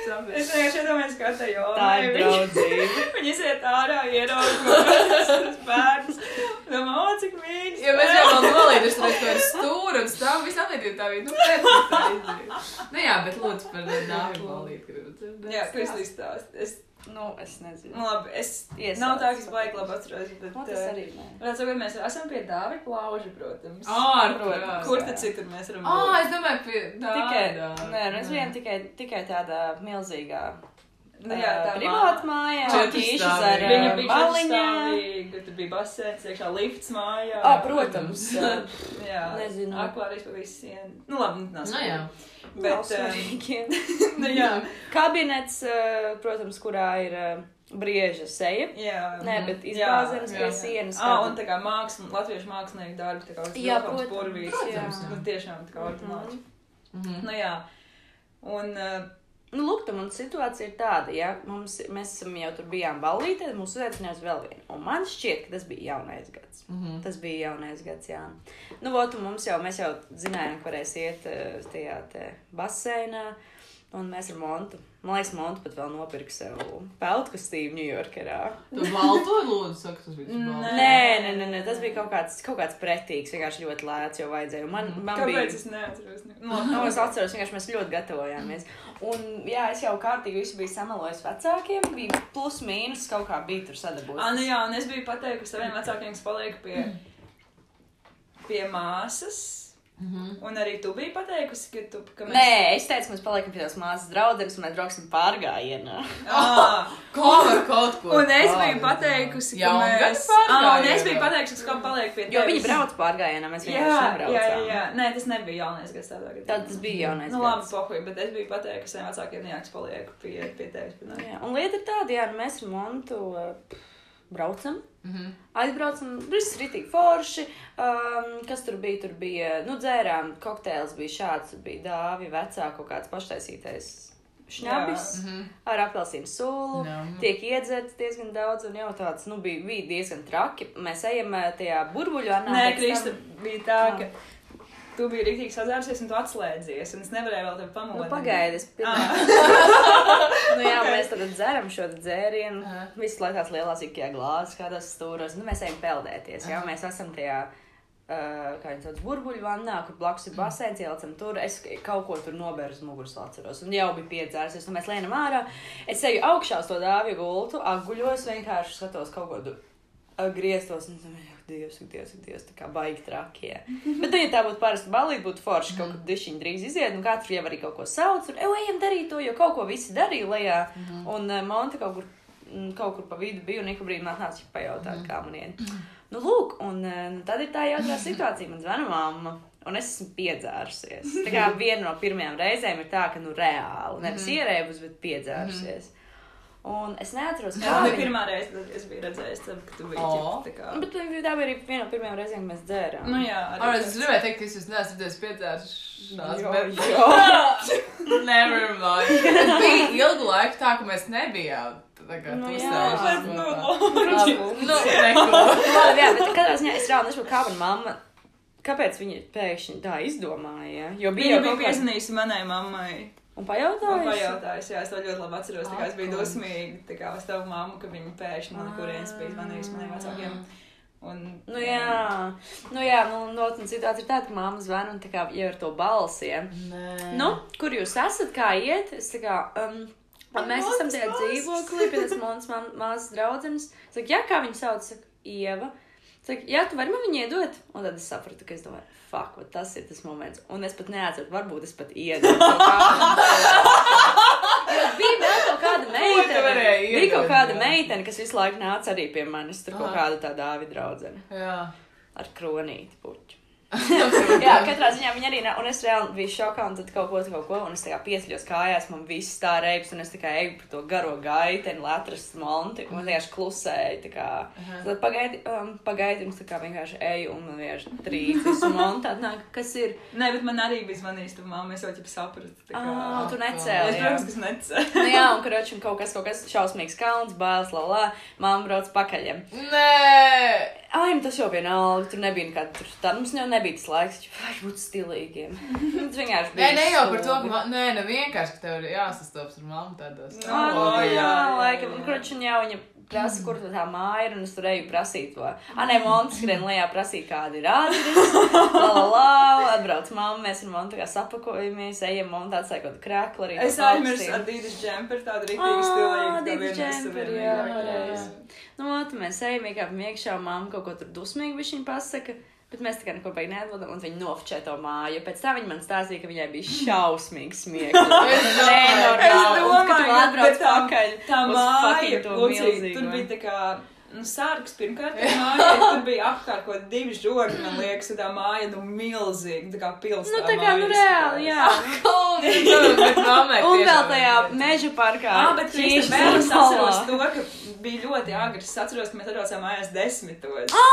A: Es vienkārši iedomājos, kā tā jau
B: Tā ir draudzība.
A: *laughs* Viņi iziet ārā, ieraudzīt *laughs* bērns. Domā, o, cik mīļš.
D: Jo mēs jau vēl nolīduši, lai to ir stūri un stāv visam līdīt tā bija, nu, pēc tā izdarīt. Nu jā, bet lūdzu par nākamo līdīt gribu dzirdēt.
A: Jā, Kristīna stāsta. Es,
C: Nu, es nezinu.
A: nu, labi, es,
C: Iesāc.
A: nav tā, ka es baigi labi atceros, bet.
C: Nu, tas arī nē.
A: Redzu, ka mēs esam pie dāvi plauža, protams.
D: Ārprāt.
A: Kur tad citur mēs varam
D: Ā,
A: būt?
D: es domāju, pie tā.
C: Tikai, nē, nu, es vienu tikai, tikai tādā milzīgā
A: Nu, jā, tā
C: privāta mājā.
D: Četri
C: Tīšas
D: stāvi.
C: ar
A: Viņa
C: ā,
A: bija
C: baliņām.
A: balstīga, tur bija basēns, iekšā lifts mājā.
C: Ā, protams.
A: jā,
C: Nezinu.
A: Akvārijas pa visiem. Nu, labi, nu, nav
D: Nu jā.
A: *laughs* Bet, eh,
C: Bet,
A: nu, jā,
C: kabinets, ā, protams, kurā ir ā, brieža seja.
A: jā.
C: Nē, bet
A: Mhm. Jā,
C: izbāzenes
D: jā.
C: pie sienas.
A: Ā, un tā kā māksla, latviešu mākslinieku darbi, tā kā uz
C: Jā,
A: vilkams
C: protams,
A: burvīs.
C: jā.
A: Nu, tiešām tā kā
C: Mhm.
A: ordināli.
D: Mhm.
A: Nu, jā. Un, eh,
C: Nu, lūk, tā man situācija ir tāda, ja mums, mēs esam jau tur bijām ballītē, tad mūs uzaicināja uz vēl vienu. Un man šķiet, ka tas bija jaunais gads.
D: Mhm.
C: Tas bija jaunais gads, jā. Nu, vot, un mums jau, mēs jau zinājām, ka varēs iet eh, uz tajā te basēnā. Un mēs ar Montu, man liekas, Montu pat vēl nopirka sev peltu kostīmu Ņujorkerā.
D: Tu balto lūdzu, saka, tas bija tas
A: Nē.
D: balts.
C: Nē, nē, nē, nē, tas bija kaut kāds, kaut kāds pretīgs, vienkārši ļoti lēts, jo vajadzēja. Un Man, man bija...
A: kāpēc es neatceros? Nu, labi.
C: Nu, *laughs* es atceros, vienkārši mēs ļoti gatavojāmies. Un, jā, es jau kārtīgi visu biju samalojis vecākiem. Bija plus mīnus kaut kā bija
A: Ā,
C: tur
A: nu
C: sadabūts.
A: jā, un es biju pateikusi saviem vecākiem, kas paliek pie, pie māsas.
D: Mhm.
A: Un arī tu biji pateikusi, ka tu. Ka
C: Nē, es teicu, mēs paliekam pie tās māsas draudzenes un mēs brauksim pārgājienā.
A: Ā,
C: *laughs*
D: Kā var *laughs* kaut ko?
A: Un es biju pateikusi, ka
D: Jā, un
A: mēs.
D: gadu pārgājienā.
A: Ā, un es biju pateikusi, ka paliek pie tevis.
C: Jo viņi brauc pārgājienā, mēs
A: Jā,
C: vienkārši
A: jā, jā,
C: nebraucām.
A: jā. Nē, tas nebija jaunais gads tādā gadā.
C: Tad tas bija jaunais.
A: Nu, labi,
C: gads.
A: pohuj, bet es biju pateikusi saviem vecākiem, nu ka es palieku pie, pie tevis. pie nākamā.
C: Jā, un lieta ir tāda, jā, nu mēs ar Montu eh, braucam.
D: Mhm.
C: Aizbraucam, viss ir tik forši. Um, kas tur bija? Tur bija, nu, dzērām, kokteils bija šāds, tur bija dāvi, vecāku kaut kāds paštaisītais šņabis
A: Jā. Mhm.
D: Mhm.
C: ar apelsīnu sulu.
D: Jā.
C: Tiek iedzerts diezgan daudz, un jau tāds, nu, bija, bija diezgan traki. Mēs ejam eh, tajā burbuļā.
A: Nē, Krista, bija tā, ka tu biji rīktīgi sazārsies un tu atslēdzies, un es nevarēju vēl tevi pamodināt.
C: Nu, pagaidies, pirmā. *laughs* nu, *laughs* jā, mēs tad dzeram šo te dzērienu.
D: Aha.
C: Visu laiku tās lielās ikajā glāzes, kādās stūros. Nu, mēs ejam peldēties, jau mēs esam tajā Uh, kā viņi sauc, burbuļvannā, kur blakus ir basēns, ielicam tur. Es kaut ko tur nobēru uz muguras, atceros. Un jau bija piedzēries, un mēs lēnām ārā. Es eju augšā uz to dāvju gultu, apguļos, vienkārši skatos kaut ko du- uh, grieztos. Un, domāju, ak, Dievs, ak, Dievs, ak, Dievs, tā kā baigi trakie. Bet, nu, ja tā būtu parasta balīga, būtu forši kaut kur dišiņi drīz iziet, un katrs jau arī kaut ko sauc, un ejam darīt to, jo kaut ko visi darīja lejā. Un uh, Monte kaut kur, mm, kaut kur pa vidu bija, un ik pa brīdim atnāca viņa
A: Mm.
C: pajautāt, kā man iet. Nu, lūk, un eh, nu, tad ir tā jautrā situācija. Man zvana mamma, un es esmu piedzērusies. Tā kā
A: *laughs*
C: viena no pirmajām reizēm ir tā, ka, nu, reāli, nevis
A: Mm.
C: ierēbus, bet piedzērusies. Un es neatceros,
A: Tā
C: kā
A: bija
C: viņa-
A: pirmā reize, kad es biju redzējis, tam, ka tu biji
D: O.
A: ķip, tā kā.
C: Nu, Bet tā bija arī viena no pirmajām reizēm, kad mēs dzērām.
A: Nu jā,
D: Ar, es gribēju teikt, ka es jūs neesat dzirdējis piedzēršanās,
C: Jo,
D: bet...
C: jo.
D: *laughs* Never mind. Bet bija ilgu laiku tā, ka mēs nebijām. Tā kā
C: Nu jā.
D: pusējušas no tā.
A: *laughs* gribēju.
D: Nu, *laughs* neko.
C: Labi, jā, bet katrā ziņā es reāli nesaprotu, kā mana mamma, kāpēc viņa pēkšņi tā izdomāja. Jo
A: Viņa
C: bija
A: bija
C: jau kaut kas
A: piezvanījusi manai mammai.
C: Un
A: Man
C: pajautāja.
A: pajautājis, jā, es to ļoti labi atceros. Tā kā es biju
D: Ak,
A: dosmīga, tā kā uz tavu mammu, ka viņa pēkšņi man kurienes bija zvanījusi maniem vecākiem. Un,
C: Nu jā, nu jā, nu, nu, nu situācija ir tāda, ka mamma zvana un tā kā jau ar to balsiem.
D: Nē.
C: Nu, kur jūs esat, kā iet? Es tā kā, um, un mēs esam tajā dzīvoklī, pie tas mans ma mazs draudzenes. Saka, jā, kā viņa sauc, saka, Ieva. Saka, jā, tu vari man viņu iedot? Un tad es sapratu, ka es domāju, fuck, vat tas ir tas moments. Un es pat neatceru, varbūt es pat iedodu. *laughs* kaut kādam. Jo Bija vēl kaut kāda
D: tu
C: meitene.
D: varēji
C: Bija kaut
D: iedot,
C: kāda
D: jā?
C: meitene, kas visu laiku nāca arī pie manis. Tur kaut
D: Aha.
C: kāda tā dāvida draudzene
D: *laughs* Jā.
A: *laughs*
C: ar kronīti puķu. Jā,
D: Jā,
C: katrā ziņā viņa arī nav. Un es reāli biju šokā, un tad kaut ko, kaut ko, un es tā kā piesļos kājās, man viss tā reips, un es tā kā eju pa to garo gaiteni, lai atrastu monti, un man vienkārši klusēja. tā kā. Tad pagaidi, um, pagaidi, un es tā kā vienkārši eju, un man vienkārši trīs monti atnāk, kas ir.
A: Nē, bet man arī bija zvanījusi tava mamma, es jau ķip sapratu. tā kā.
C: Ah, tu
A: Es,
C: necēli. jā.
A: protams, kas necēlu.
C: Nu jā, un karočam kaut kas, kaut kas šausmīgs kalns, bāls, la la, mamma brauc pakaļiem.
D: Nē.
C: Ai, nu tas jau vienalga, tur nebija nekāda tur tā, mums jau nebija tas laiks, taču, vai būt stilīgiem. *laughs* Tas vienkārši bija.
D: Nē, ne jau par to, ka
C: stulbi.
D: man, nē, ne vienkārši, ka tev ir jāsastops ar mammu tādos.
A: Nu,
C: Ah,
A: O,
C: nu,
A: jā,
C: jā,
A: jā,
C: laikam,
A: jā.
C: un kruču jau viņa prasa, kur tā tā māja ir, un es tur eju prasīt to. Anē, Montes skrien lejā prasīt, kāda ir adres. La, la, la, atbrauc mamma, mēs ar Montu kā sapakojamies, ejam, Montu atstāja kaut kādu krēklu arī.
A: Es
C: pa
A: aizmirsu
C: paustiem.
A: ar Dīdas džemperi, tādu
C: Ah,
A: rītīgu stilīgu. tā
C: Adidas
A: vienmēr esam
C: džemperi,
A: vienīgi
C: jā,
A: jāķerās.
C: Nu, tā mēs ejam, iekāpjam iekšā, māma kaut ko tur dusmīgi viņa pasaka. Bet mēs tā kā neko beigām neatbildam, un viņi nofčē to māju. Pēc tam viņi man stāstīja, ka viņai bija šausmīgs
A: *laughs*
C: smieklīgi.
D: Es
C: Nenormāli.
A: Es
C: Jā, un kad tu
A: domāju,
C: atbrauc
A: bet tā-
C: pakaļ
A: Tā
C: uz
A: māja,
C: fucking to
A: Lucija,
C: milzīgo.
A: tur bija tā kā. Nu, sārgs pirmkārt, tā māja, tur bija apkārt kaut divi žogi, man liekas, un tā māja, nu, milzīga, tā kā pilsēta.
C: Nu, tā kā, nu, reāli, jā. *laughs*
D: domāju,
C: Un vēl tajā meža parkā.
A: Jā, bet es
C: Ķīšas
A: vēl es atceros
C: salā.
A: to, ka bija ļoti agri. Es atceros, ka mēs atrodām mājās desmitos.
C: Ā,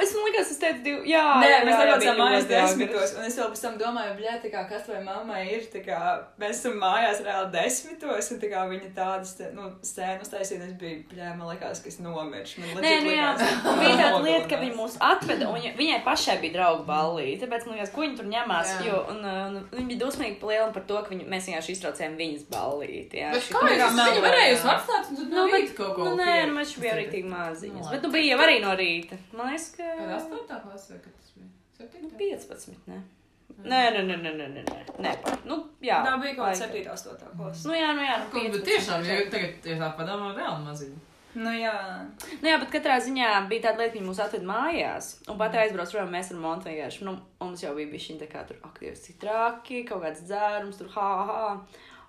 C: Es man liekas, es teicu, divi. Jā,
A: Nē,
C: jā,
A: mēs
C: jā,
A: atrodām
C: bija
A: mājās
C: ļoti
A: desmitos,
C: agri.
A: un es vēl pēc tam domāju, bļē, tā kā kas vai mammai ir, tā kā mēs esam mājās reāli desmitos, un tā kā viņa tādas, te- nu, sēnas taisīja, un es biju, bļē, man liekas, ka es nomiršu. Man
C: Nē,
A: legit
C: nu jā,
A: likās, ka
C: *laughs* bija tāda
A: nogalinās.
C: lieta, ka viņi mūs atveda, un viņa- viņai pašai bija draugu ballīte, tāpēc, man liekas, ko viņi tur ņemās,
D: Jā.
C: jo, un, un viņi bija dusmīgi plēli par to, ka viņi, mēs vienkārši iztraucējām viņas ballīti, jā.
D: Bet
C: Šī-
D: kā
A: kā
D: jūs
A: melojāt.
D: viņu varējāt atstāt, un tad
C: Nu,
D: nu
C: bet,
D: vīt kaut ko?
C: nu, nē, nu, mēs bijām arī tik
D: Nu,
C: māziņas,
D: labi.
C: bet, nu, bija jau arī no rīta. Man liekas, ka...
D: Kad astotā klasē, kad tas bija?
C: Nu,
D: Septītā?
C: 15, ne? Nē, nē, nē, nē, nē, nē, nē, nē, pat- nu, jā.
A: Tā bija kaut kāda
C: laikam.
A: 7. 8. klasa.
C: Nu, jā, nu, jā, nu,
D: Kaut, bet
C: 15,
D: tiešām,
C: jā.
D: ja tagad ja tā padomā reāli maziņu.
A: Nu jā,
C: Nu, jā, bet katrā ziņā bija tāda lieta, ka viņi mūs atveda mājās. Un pat aizbraucu prom, mēs ar Montu vienkārši. Nu, mums jau bija šī tā kā tur, ak, Dievs, cik traki, kaut kāds dzērums, tur, ha, ha.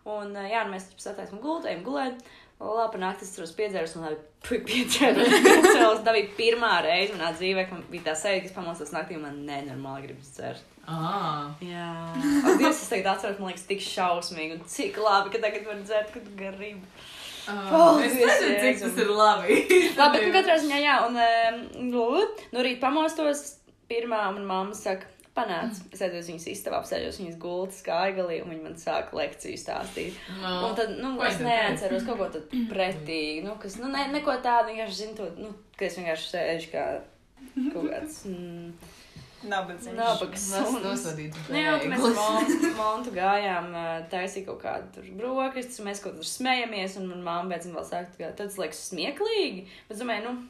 C: Un ā, jā, nu, mēs taču sataisam gultēm, gulēt. Labi, naktī es tur piedzēros, *laughs* un labi, piedzēros. Piedzēros, tā bija pirmā reize manā dzīvē, kad man bija tā sajūta, ka es pamostos naktī, un man nenormāli gribas dzert.
D: Ā.
C: Jā, ak, Dievs, es tagad atceros, man liekas, tik šausmīgi, un cik labi, ka tagad var dzert, kad gribi.
D: Ā,
C: Paldies,
D: Es nezinu, cik
C: Jēzum.
D: tas ir labi. *laughs*
C: Labi, bet nu, katrā ziņā, jā, un em, nu, nu rīt pamostos, pirmā man mamma saka, panāc, es aizēju uz viņas istabu, apsēžos viņas gultas kā aigalī, un viņa man sāka lekciju stāstīt.
D: No.
C: Un tad, nu,
D: Ko
C: es
D: es tev
C: neatceros kaut ko tādu pretīgu, nu, kas, nu, ne, neko tādu, vienkārši zinu to, nu, ka es vienkārši sēžu kā kaut kāds, mm,
A: nabadzīgs.
C: nabaga suns.
D: Nosodīt.
C: Nu, jā, un tad mēs ar
D: *laughs*
C: Montu- Montu gājām, ā, taisīja kaut kādu tur brokastis, un mēs kaut kur smējamies, un manā mamā pēc tam vēl saka, ka tas liekas smieklīgi. Bet, es domāju, nu,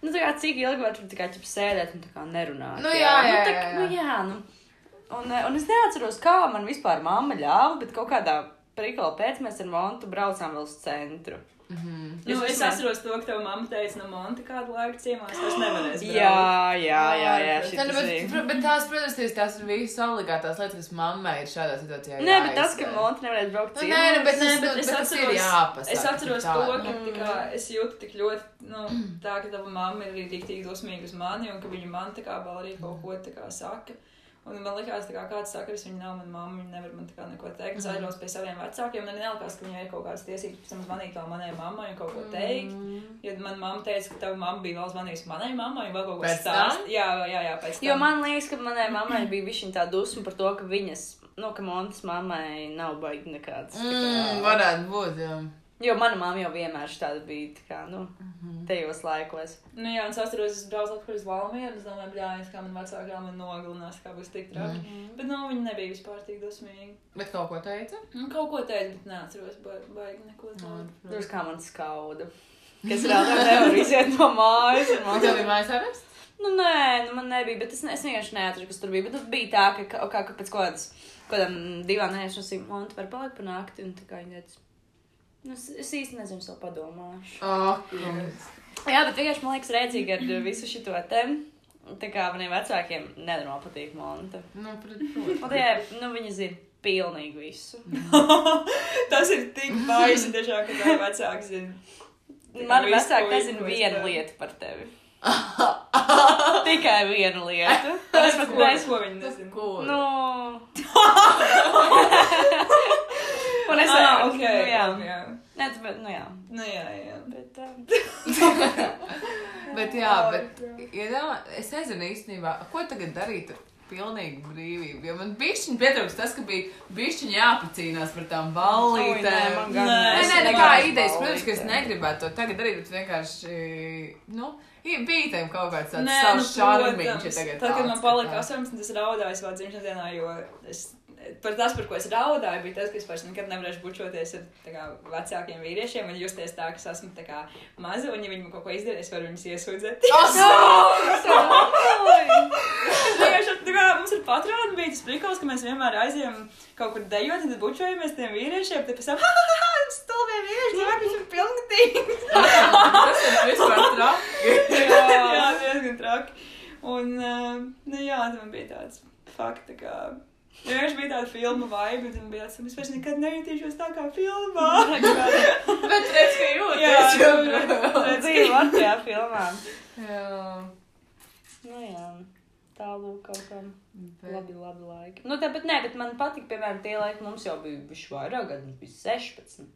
C: Nu, tā kā cik ilgi var tur tā kā ķip sēdēt un tā kā nerunāt.
D: Nu, jā,
C: nu,
D: jā,
C: tā,
D: jā,
C: Nu, jā, nu. Un, eh, un es neatceros, kā man vispār mamma ļāva, bet kaut kādā prikla pēc mēs ar Montu braucām vēl uz centru.
D: Mhm.
A: Nu,
C: Es
A: es
C: domāju-
A: atceros to, ka tev mamma teica, no Monta kādu laiku ciemās, tas nevarēs. braukt.
B: Jā, jā, jā, jā,
A: Ai,
B: šī
D: Tā, nu, bet,
B: ir.
D: pr- bet tās, protams, tīs- tās ir visas obligātās lietas, kas mammai ir šādā situācijā.
C: Nē, bet tas, ka
D: jāizsver.
C: Montu nevarēja braukt
D: Nu, nē, nu, bet,
A: Nē,
D: nē,
A: bet es
D: tas ir
A: atceros-
D: jāpasaka.
A: Es atceros
D: tā. Mm.
A: to, ka tā kā, es jūtu tik ļoti, nu, tā, ka tava mamma ir arī tik tik dosmīga uz mani, un ka viņa man tā kā vēl arī kaut ko tā kā saka. Un man liekas, tā kā kāds sakars, viņa nav mana mamma, viņa nevar man tā kā neko teikt. Es
D: Mm.
A: aizbraucu pie saviem vecākiem, un man nelikās, ka viņai ir kaut kādas tiesības pēc tam zvanīt vēl manai mammai un kaut ko teikt.
D: Mm.
A: Jo man mamma teica, ka tava mamma bija vēl zvanījusi manai mammai, un vēl kaut ko
D: Pēc tam?
A: stāst. Jā, jā, jā, pēc tam.
C: Jo man liekas, ka manai mammai bija viņa tā dusma par to, ka viņas, nu, ka Montes mammai nav baigi nekāds. tā
D: Mm,
C: kā-
D: varētu būt, jā.
C: Jo mana mamma jau vienmēr šāda bija, tā kā, nu,
D: Mhm.
C: tajos laikos.
A: Nu, jā, un es atceros, es braucu atpakaļ uz Valmiju, un es domāju, bļāvis, kā man vecākā man nogalinās, kā būs tik traki.
D: Mhm.
A: Mm. Bet, nu, viņi nebija vispār tik dosmīgi.
D: Bet kaut ko teica?
A: Nu, kaut ko teicu, bet neatceros, ba- baigi neko tādu.
C: Tur kā man skauda. Kas vēl tam
D: *laughs*
C: nevar iziet no mājas. un
D: Un
C: Man...
D: tev bija mājas arests?
C: Nu, nē, nu, man nebija, bet es, ne, es vienkārši neatceros, kas tur bija. Bet tur bija tā, ka, ka, ka, ka pēc kaut kādas, kaut kādām divām nedēļām šī monta var palikt par nakti. Un tā kā viņa teica, nu, es, es īsti nezinu, es vēl padomāšu.
D: Oh, kungs.
C: Jā, bet vienkārši man liekas rēcīgi ar eh, visu šito te. Tā kā maniem vecākiem nenormāli patīk monta.
D: nu, protams.
C: Un tā, jā, nu, viņi zina pilnīgi visu.
A: *laughs* Tas ir tik baisi, tiešām, ka tev vecāki zina. kā
C: Mani
A: visu,
C: vecāki
A: ko
C: nezina
A: izkost,
C: vienu
A: jā.
C: lietu par tevi. Tikai vienu
A: *laughs*
C: lietu.
A: *laughs* Tas,
C: Es pat
A: ko,
C: nezinu.
A: ko viņi nezina.
D: Ko?
A: *laughs*
C: Nu. *laughs* Un es
A: Ah,
C: arī.
A: ok,
C: Nu, jā.
A: labi, jā.
C: Nē, tas bet, nu jā.
A: Nu, jā, jā.
C: Bet, um,
D: *laughs* Bet jā, bet
A: Oh,
D: iedomā, es nezinu īstenībā, ko tagad darīt ar pilnīgu brīvību. Jo man bišķiņ pietrūks tas, ka bija bišķiņ jāpacīnās par tām
C: ui, nē, man
D: ballītēm.
C: gan
A: Nē,
D: Nē,
A: Es
D: nē,
A: nemāku
D: nekā
A: ballītēm.
D: idejas, protams, ka es negribētu to tagad darīt, bet vienkārši, nu, i- bija tam kaut kāds tāds
A: Nē, nu,
D: savs šarmiņš. ja
A: protams.
D: tagad
A: Tad, kad
D: tāds,
A: man
D: ka
A: palika
D: tā.
A: 18, es raudāju savā dzimšanas dienā, jo es, par tas, par ko es raudāju, bija tas, ka es vairs nekad nevarēšu bučoties ar tā kā, vecākiem vīriešiem un justies tā, ka es esmu tā kā maza, un ja viņi man kaut ko izdarīs, es varu viņus
D: *laughs*
A: iesūdzēt.
D: Ah,
A: *laughs* Tieši tā kā mums ir patroni, bija tas prikals, ka mēs vienmēr aizējām kaut kur dejot, un tad bučojamies tiem vīriešiem, tad pēc tam, *laughs* ha, ha, ha, stulbie
D: *laughs*
A: vīrieši, jā, viņš ir pilngatīgi.
D: Tas ir vispār traki.
A: *laughs* jā, jā, diezgan traki. Un, uh, nu jā, tad man bija tāds fakts, tā kā. Jā, viņš bija tāds filmu vibe, bet man bija tāds, es vairs nekad nejūtīšos tā kā *laughs* filmā.
D: Bet redz, ka
A: Jā,
D: jūtas.
A: nu,
D: jau.
A: redz.
C: dzīvo ar tajā filmā.
D: Jā.
C: Nu jā. Tālu kaut kam.
D: Bet-
C: Labi, labi laiki. Nu, tāpat nē, bet man patīk, piemēram, tie laiki mums jau bija bijuši vairāk, kad mums bija 16.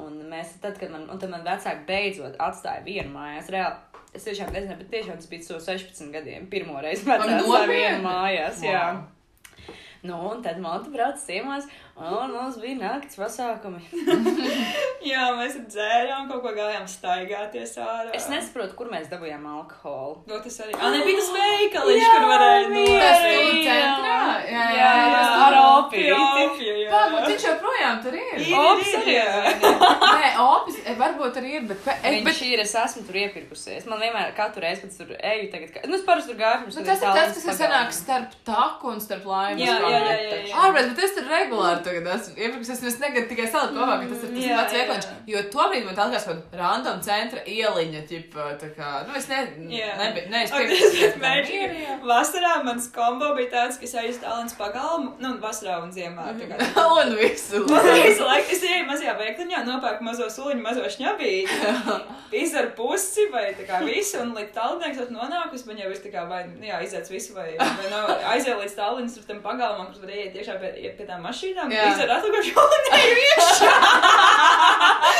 C: Un mēs tad, kad man, un tad man vecāki beidzot atstāja vienu mājās, reāli. Es tiešām nezinu, bet tiešām tas bija so 16 gadiem. Pirmo reizi man
D: Ak,
C: atstāja
D: nopietni?
C: vienu mājās, jā. Nu, un tad Monta brauc ciemās, un mums bija nakts pasākumi.
A: jā, mēs tur dzērām, kaut ko gājām staigāties ārā.
C: Es nesaprotu, kur mēs dabūjām alkoholu.
A: No tas arī. Ah, nebija tas veikaliņš, kur varēja
D: Tas
A: nopirkt.
D: ir centrā. Jā, jā, jā.
C: jā,
D: jā.
C: ar opiju.
A: Opiju, jā.
D: Pagaid, nu, viņš joprojām tur ir.
A: Ir,
C: Ops,
A: ir,
C: arī.
A: jā.
D: Nē, opis e, varbūt arī ir, bet, pe- e,
C: Ei, bet
D: bet,
C: šī ir, es esmu tur iepirkusies. Man vienmēr, katru reizi, kad es tur eju, tagad, ka- nu, es parasti tur gāju, pirms
D: bet
C: tur
D: tas ir tas,
C: tālrunis
D: kas ir
C: pagājām.
D: sanāks starp taku un starp laimes.
A: Jā, jā, jā, jā, jā.
D: Ārpēc, bet es tur regulāri tagad esmu. Iepriekš es, es negribu tikai salikt kopā, ka tas ir tas
A: Jā,
D: pats
A: jā.
D: viegliņš. Jo tobrīd man tā likās kaut kāda random centra ieliņa, tipa, tā kā, nu es ne,
A: Jā.
D: nebiju, ne, es
A: Ak,
D: tikai
A: Ah, tas ir mērķīgi. Vasarā mans kombo bija tāds, ka es aizjūtu tālens pagalmu, nu, un vasarā un ziemā. tā kā.
D: Un visu.
A: Man visu
C: *laughs*
A: laiku es ienāku mazajā veikaliņā, nopērku mazo sūniņu, mazo
C: *laughs*
A: šņabīti, izdaru pusi vai tā kā visu, un līdz tālnieks esmu nonākusi, man jau ir tā kā vai, nu jā, izdzēts visu, vai, vai nav, aizēju līdz tālnieks ar tam pagalmam, kas var ieiet tiešām pie, iet pie tām mašīnām,
D: Jā.
A: izdaru atlikuši un eju
C: *laughs*
A: iekšā.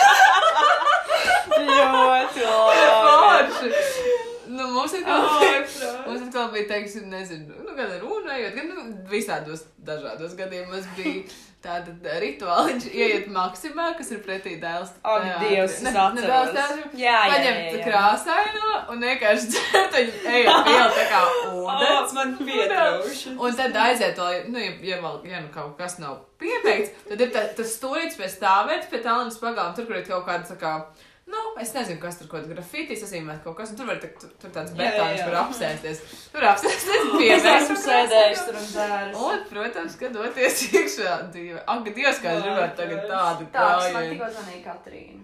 C: *laughs* Ļoti labi.
D: Forši. Nu, mums
A: Oh.
D: ir kaut kas.
A: prāt.
D: Mums atkal bija, teiksim, nezinu, nu, gan runa, jo gan nu, visādos dažādos gadījumos bija tāda tā, rituāla, *laughs* viņš ieiet maksimā, kas ir pretī dēls.
C: Ak, Dievs, es atceros. Jā, jā, jā,
D: Paņemt
C: jā.
D: krāsaino un vienkārši dzert, un ejot pielu tā
C: *laughs*
D: kā
A: Tāds
D: ūdens.
A: man pietrauši.
D: Un tad aiziet, lai, nu, ja, ja, vēl, ja nu kaut kas nav pieteikts, tad ir tā- tas stūrīts pie stāvēts, pie tālrunas pagalām, tur, kur ir kaut kāda, tā kā, nu, es nezinu, kas tur kaut kāda grafitīs iezīmēt kaut kas. Tur var teikt, tur- tur tāds
A: Jā, jā,
D: betāns,
A: jā.
D: kur apsēsties. Tur apsēsties
C: Es
D: pievērst.
C: esmu sēdējis tur un dzēris.
D: Un, protams, kad doties *laughs* iekšā divi. Ak, Dievs, kā es gribētu tagad tādu
E: Tā, kas man
D: kāju.
E: tikko zvanīja Katrīna.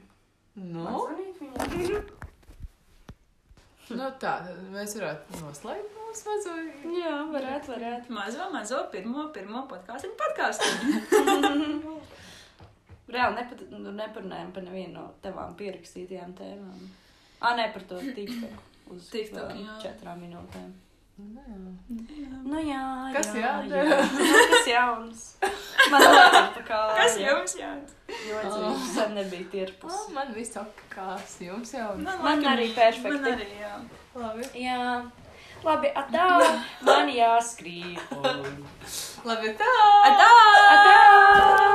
E: Man
D: Nu,
E: zvanīja viņa.
D: nu tā, tad mēs varētu noslēgt mūsu mazo.
C: Jā, varētu, varētu.
A: Mazo, mazo, pirmo, pirmo podkāstu podkāstu.
C: Reāli nepat, nu, neparunājam par nevienu no tavām pierakstītajām tēmām. Ā, nē, par to TikTok. Uz
A: TikTok,
C: vēl
A: jā.
C: četrām minūtēm.
A: Jā.
C: Nu jā,
D: Kas
C: jā,
D: jādara?
C: jā. Kas jauns? Man liekas, tā kā...
A: Kas
C: *laughs*
A: jums jādara?
C: Ļoti sen nebija tirpus.
D: Oh, man viss ok, kas jums jau.
C: Man arī perfekti.
A: Nu, Man arī, jā.
D: Labi.
C: Jā. Labi, atā. Man jāskrīt.
D: Labi, tā.
C: Atā!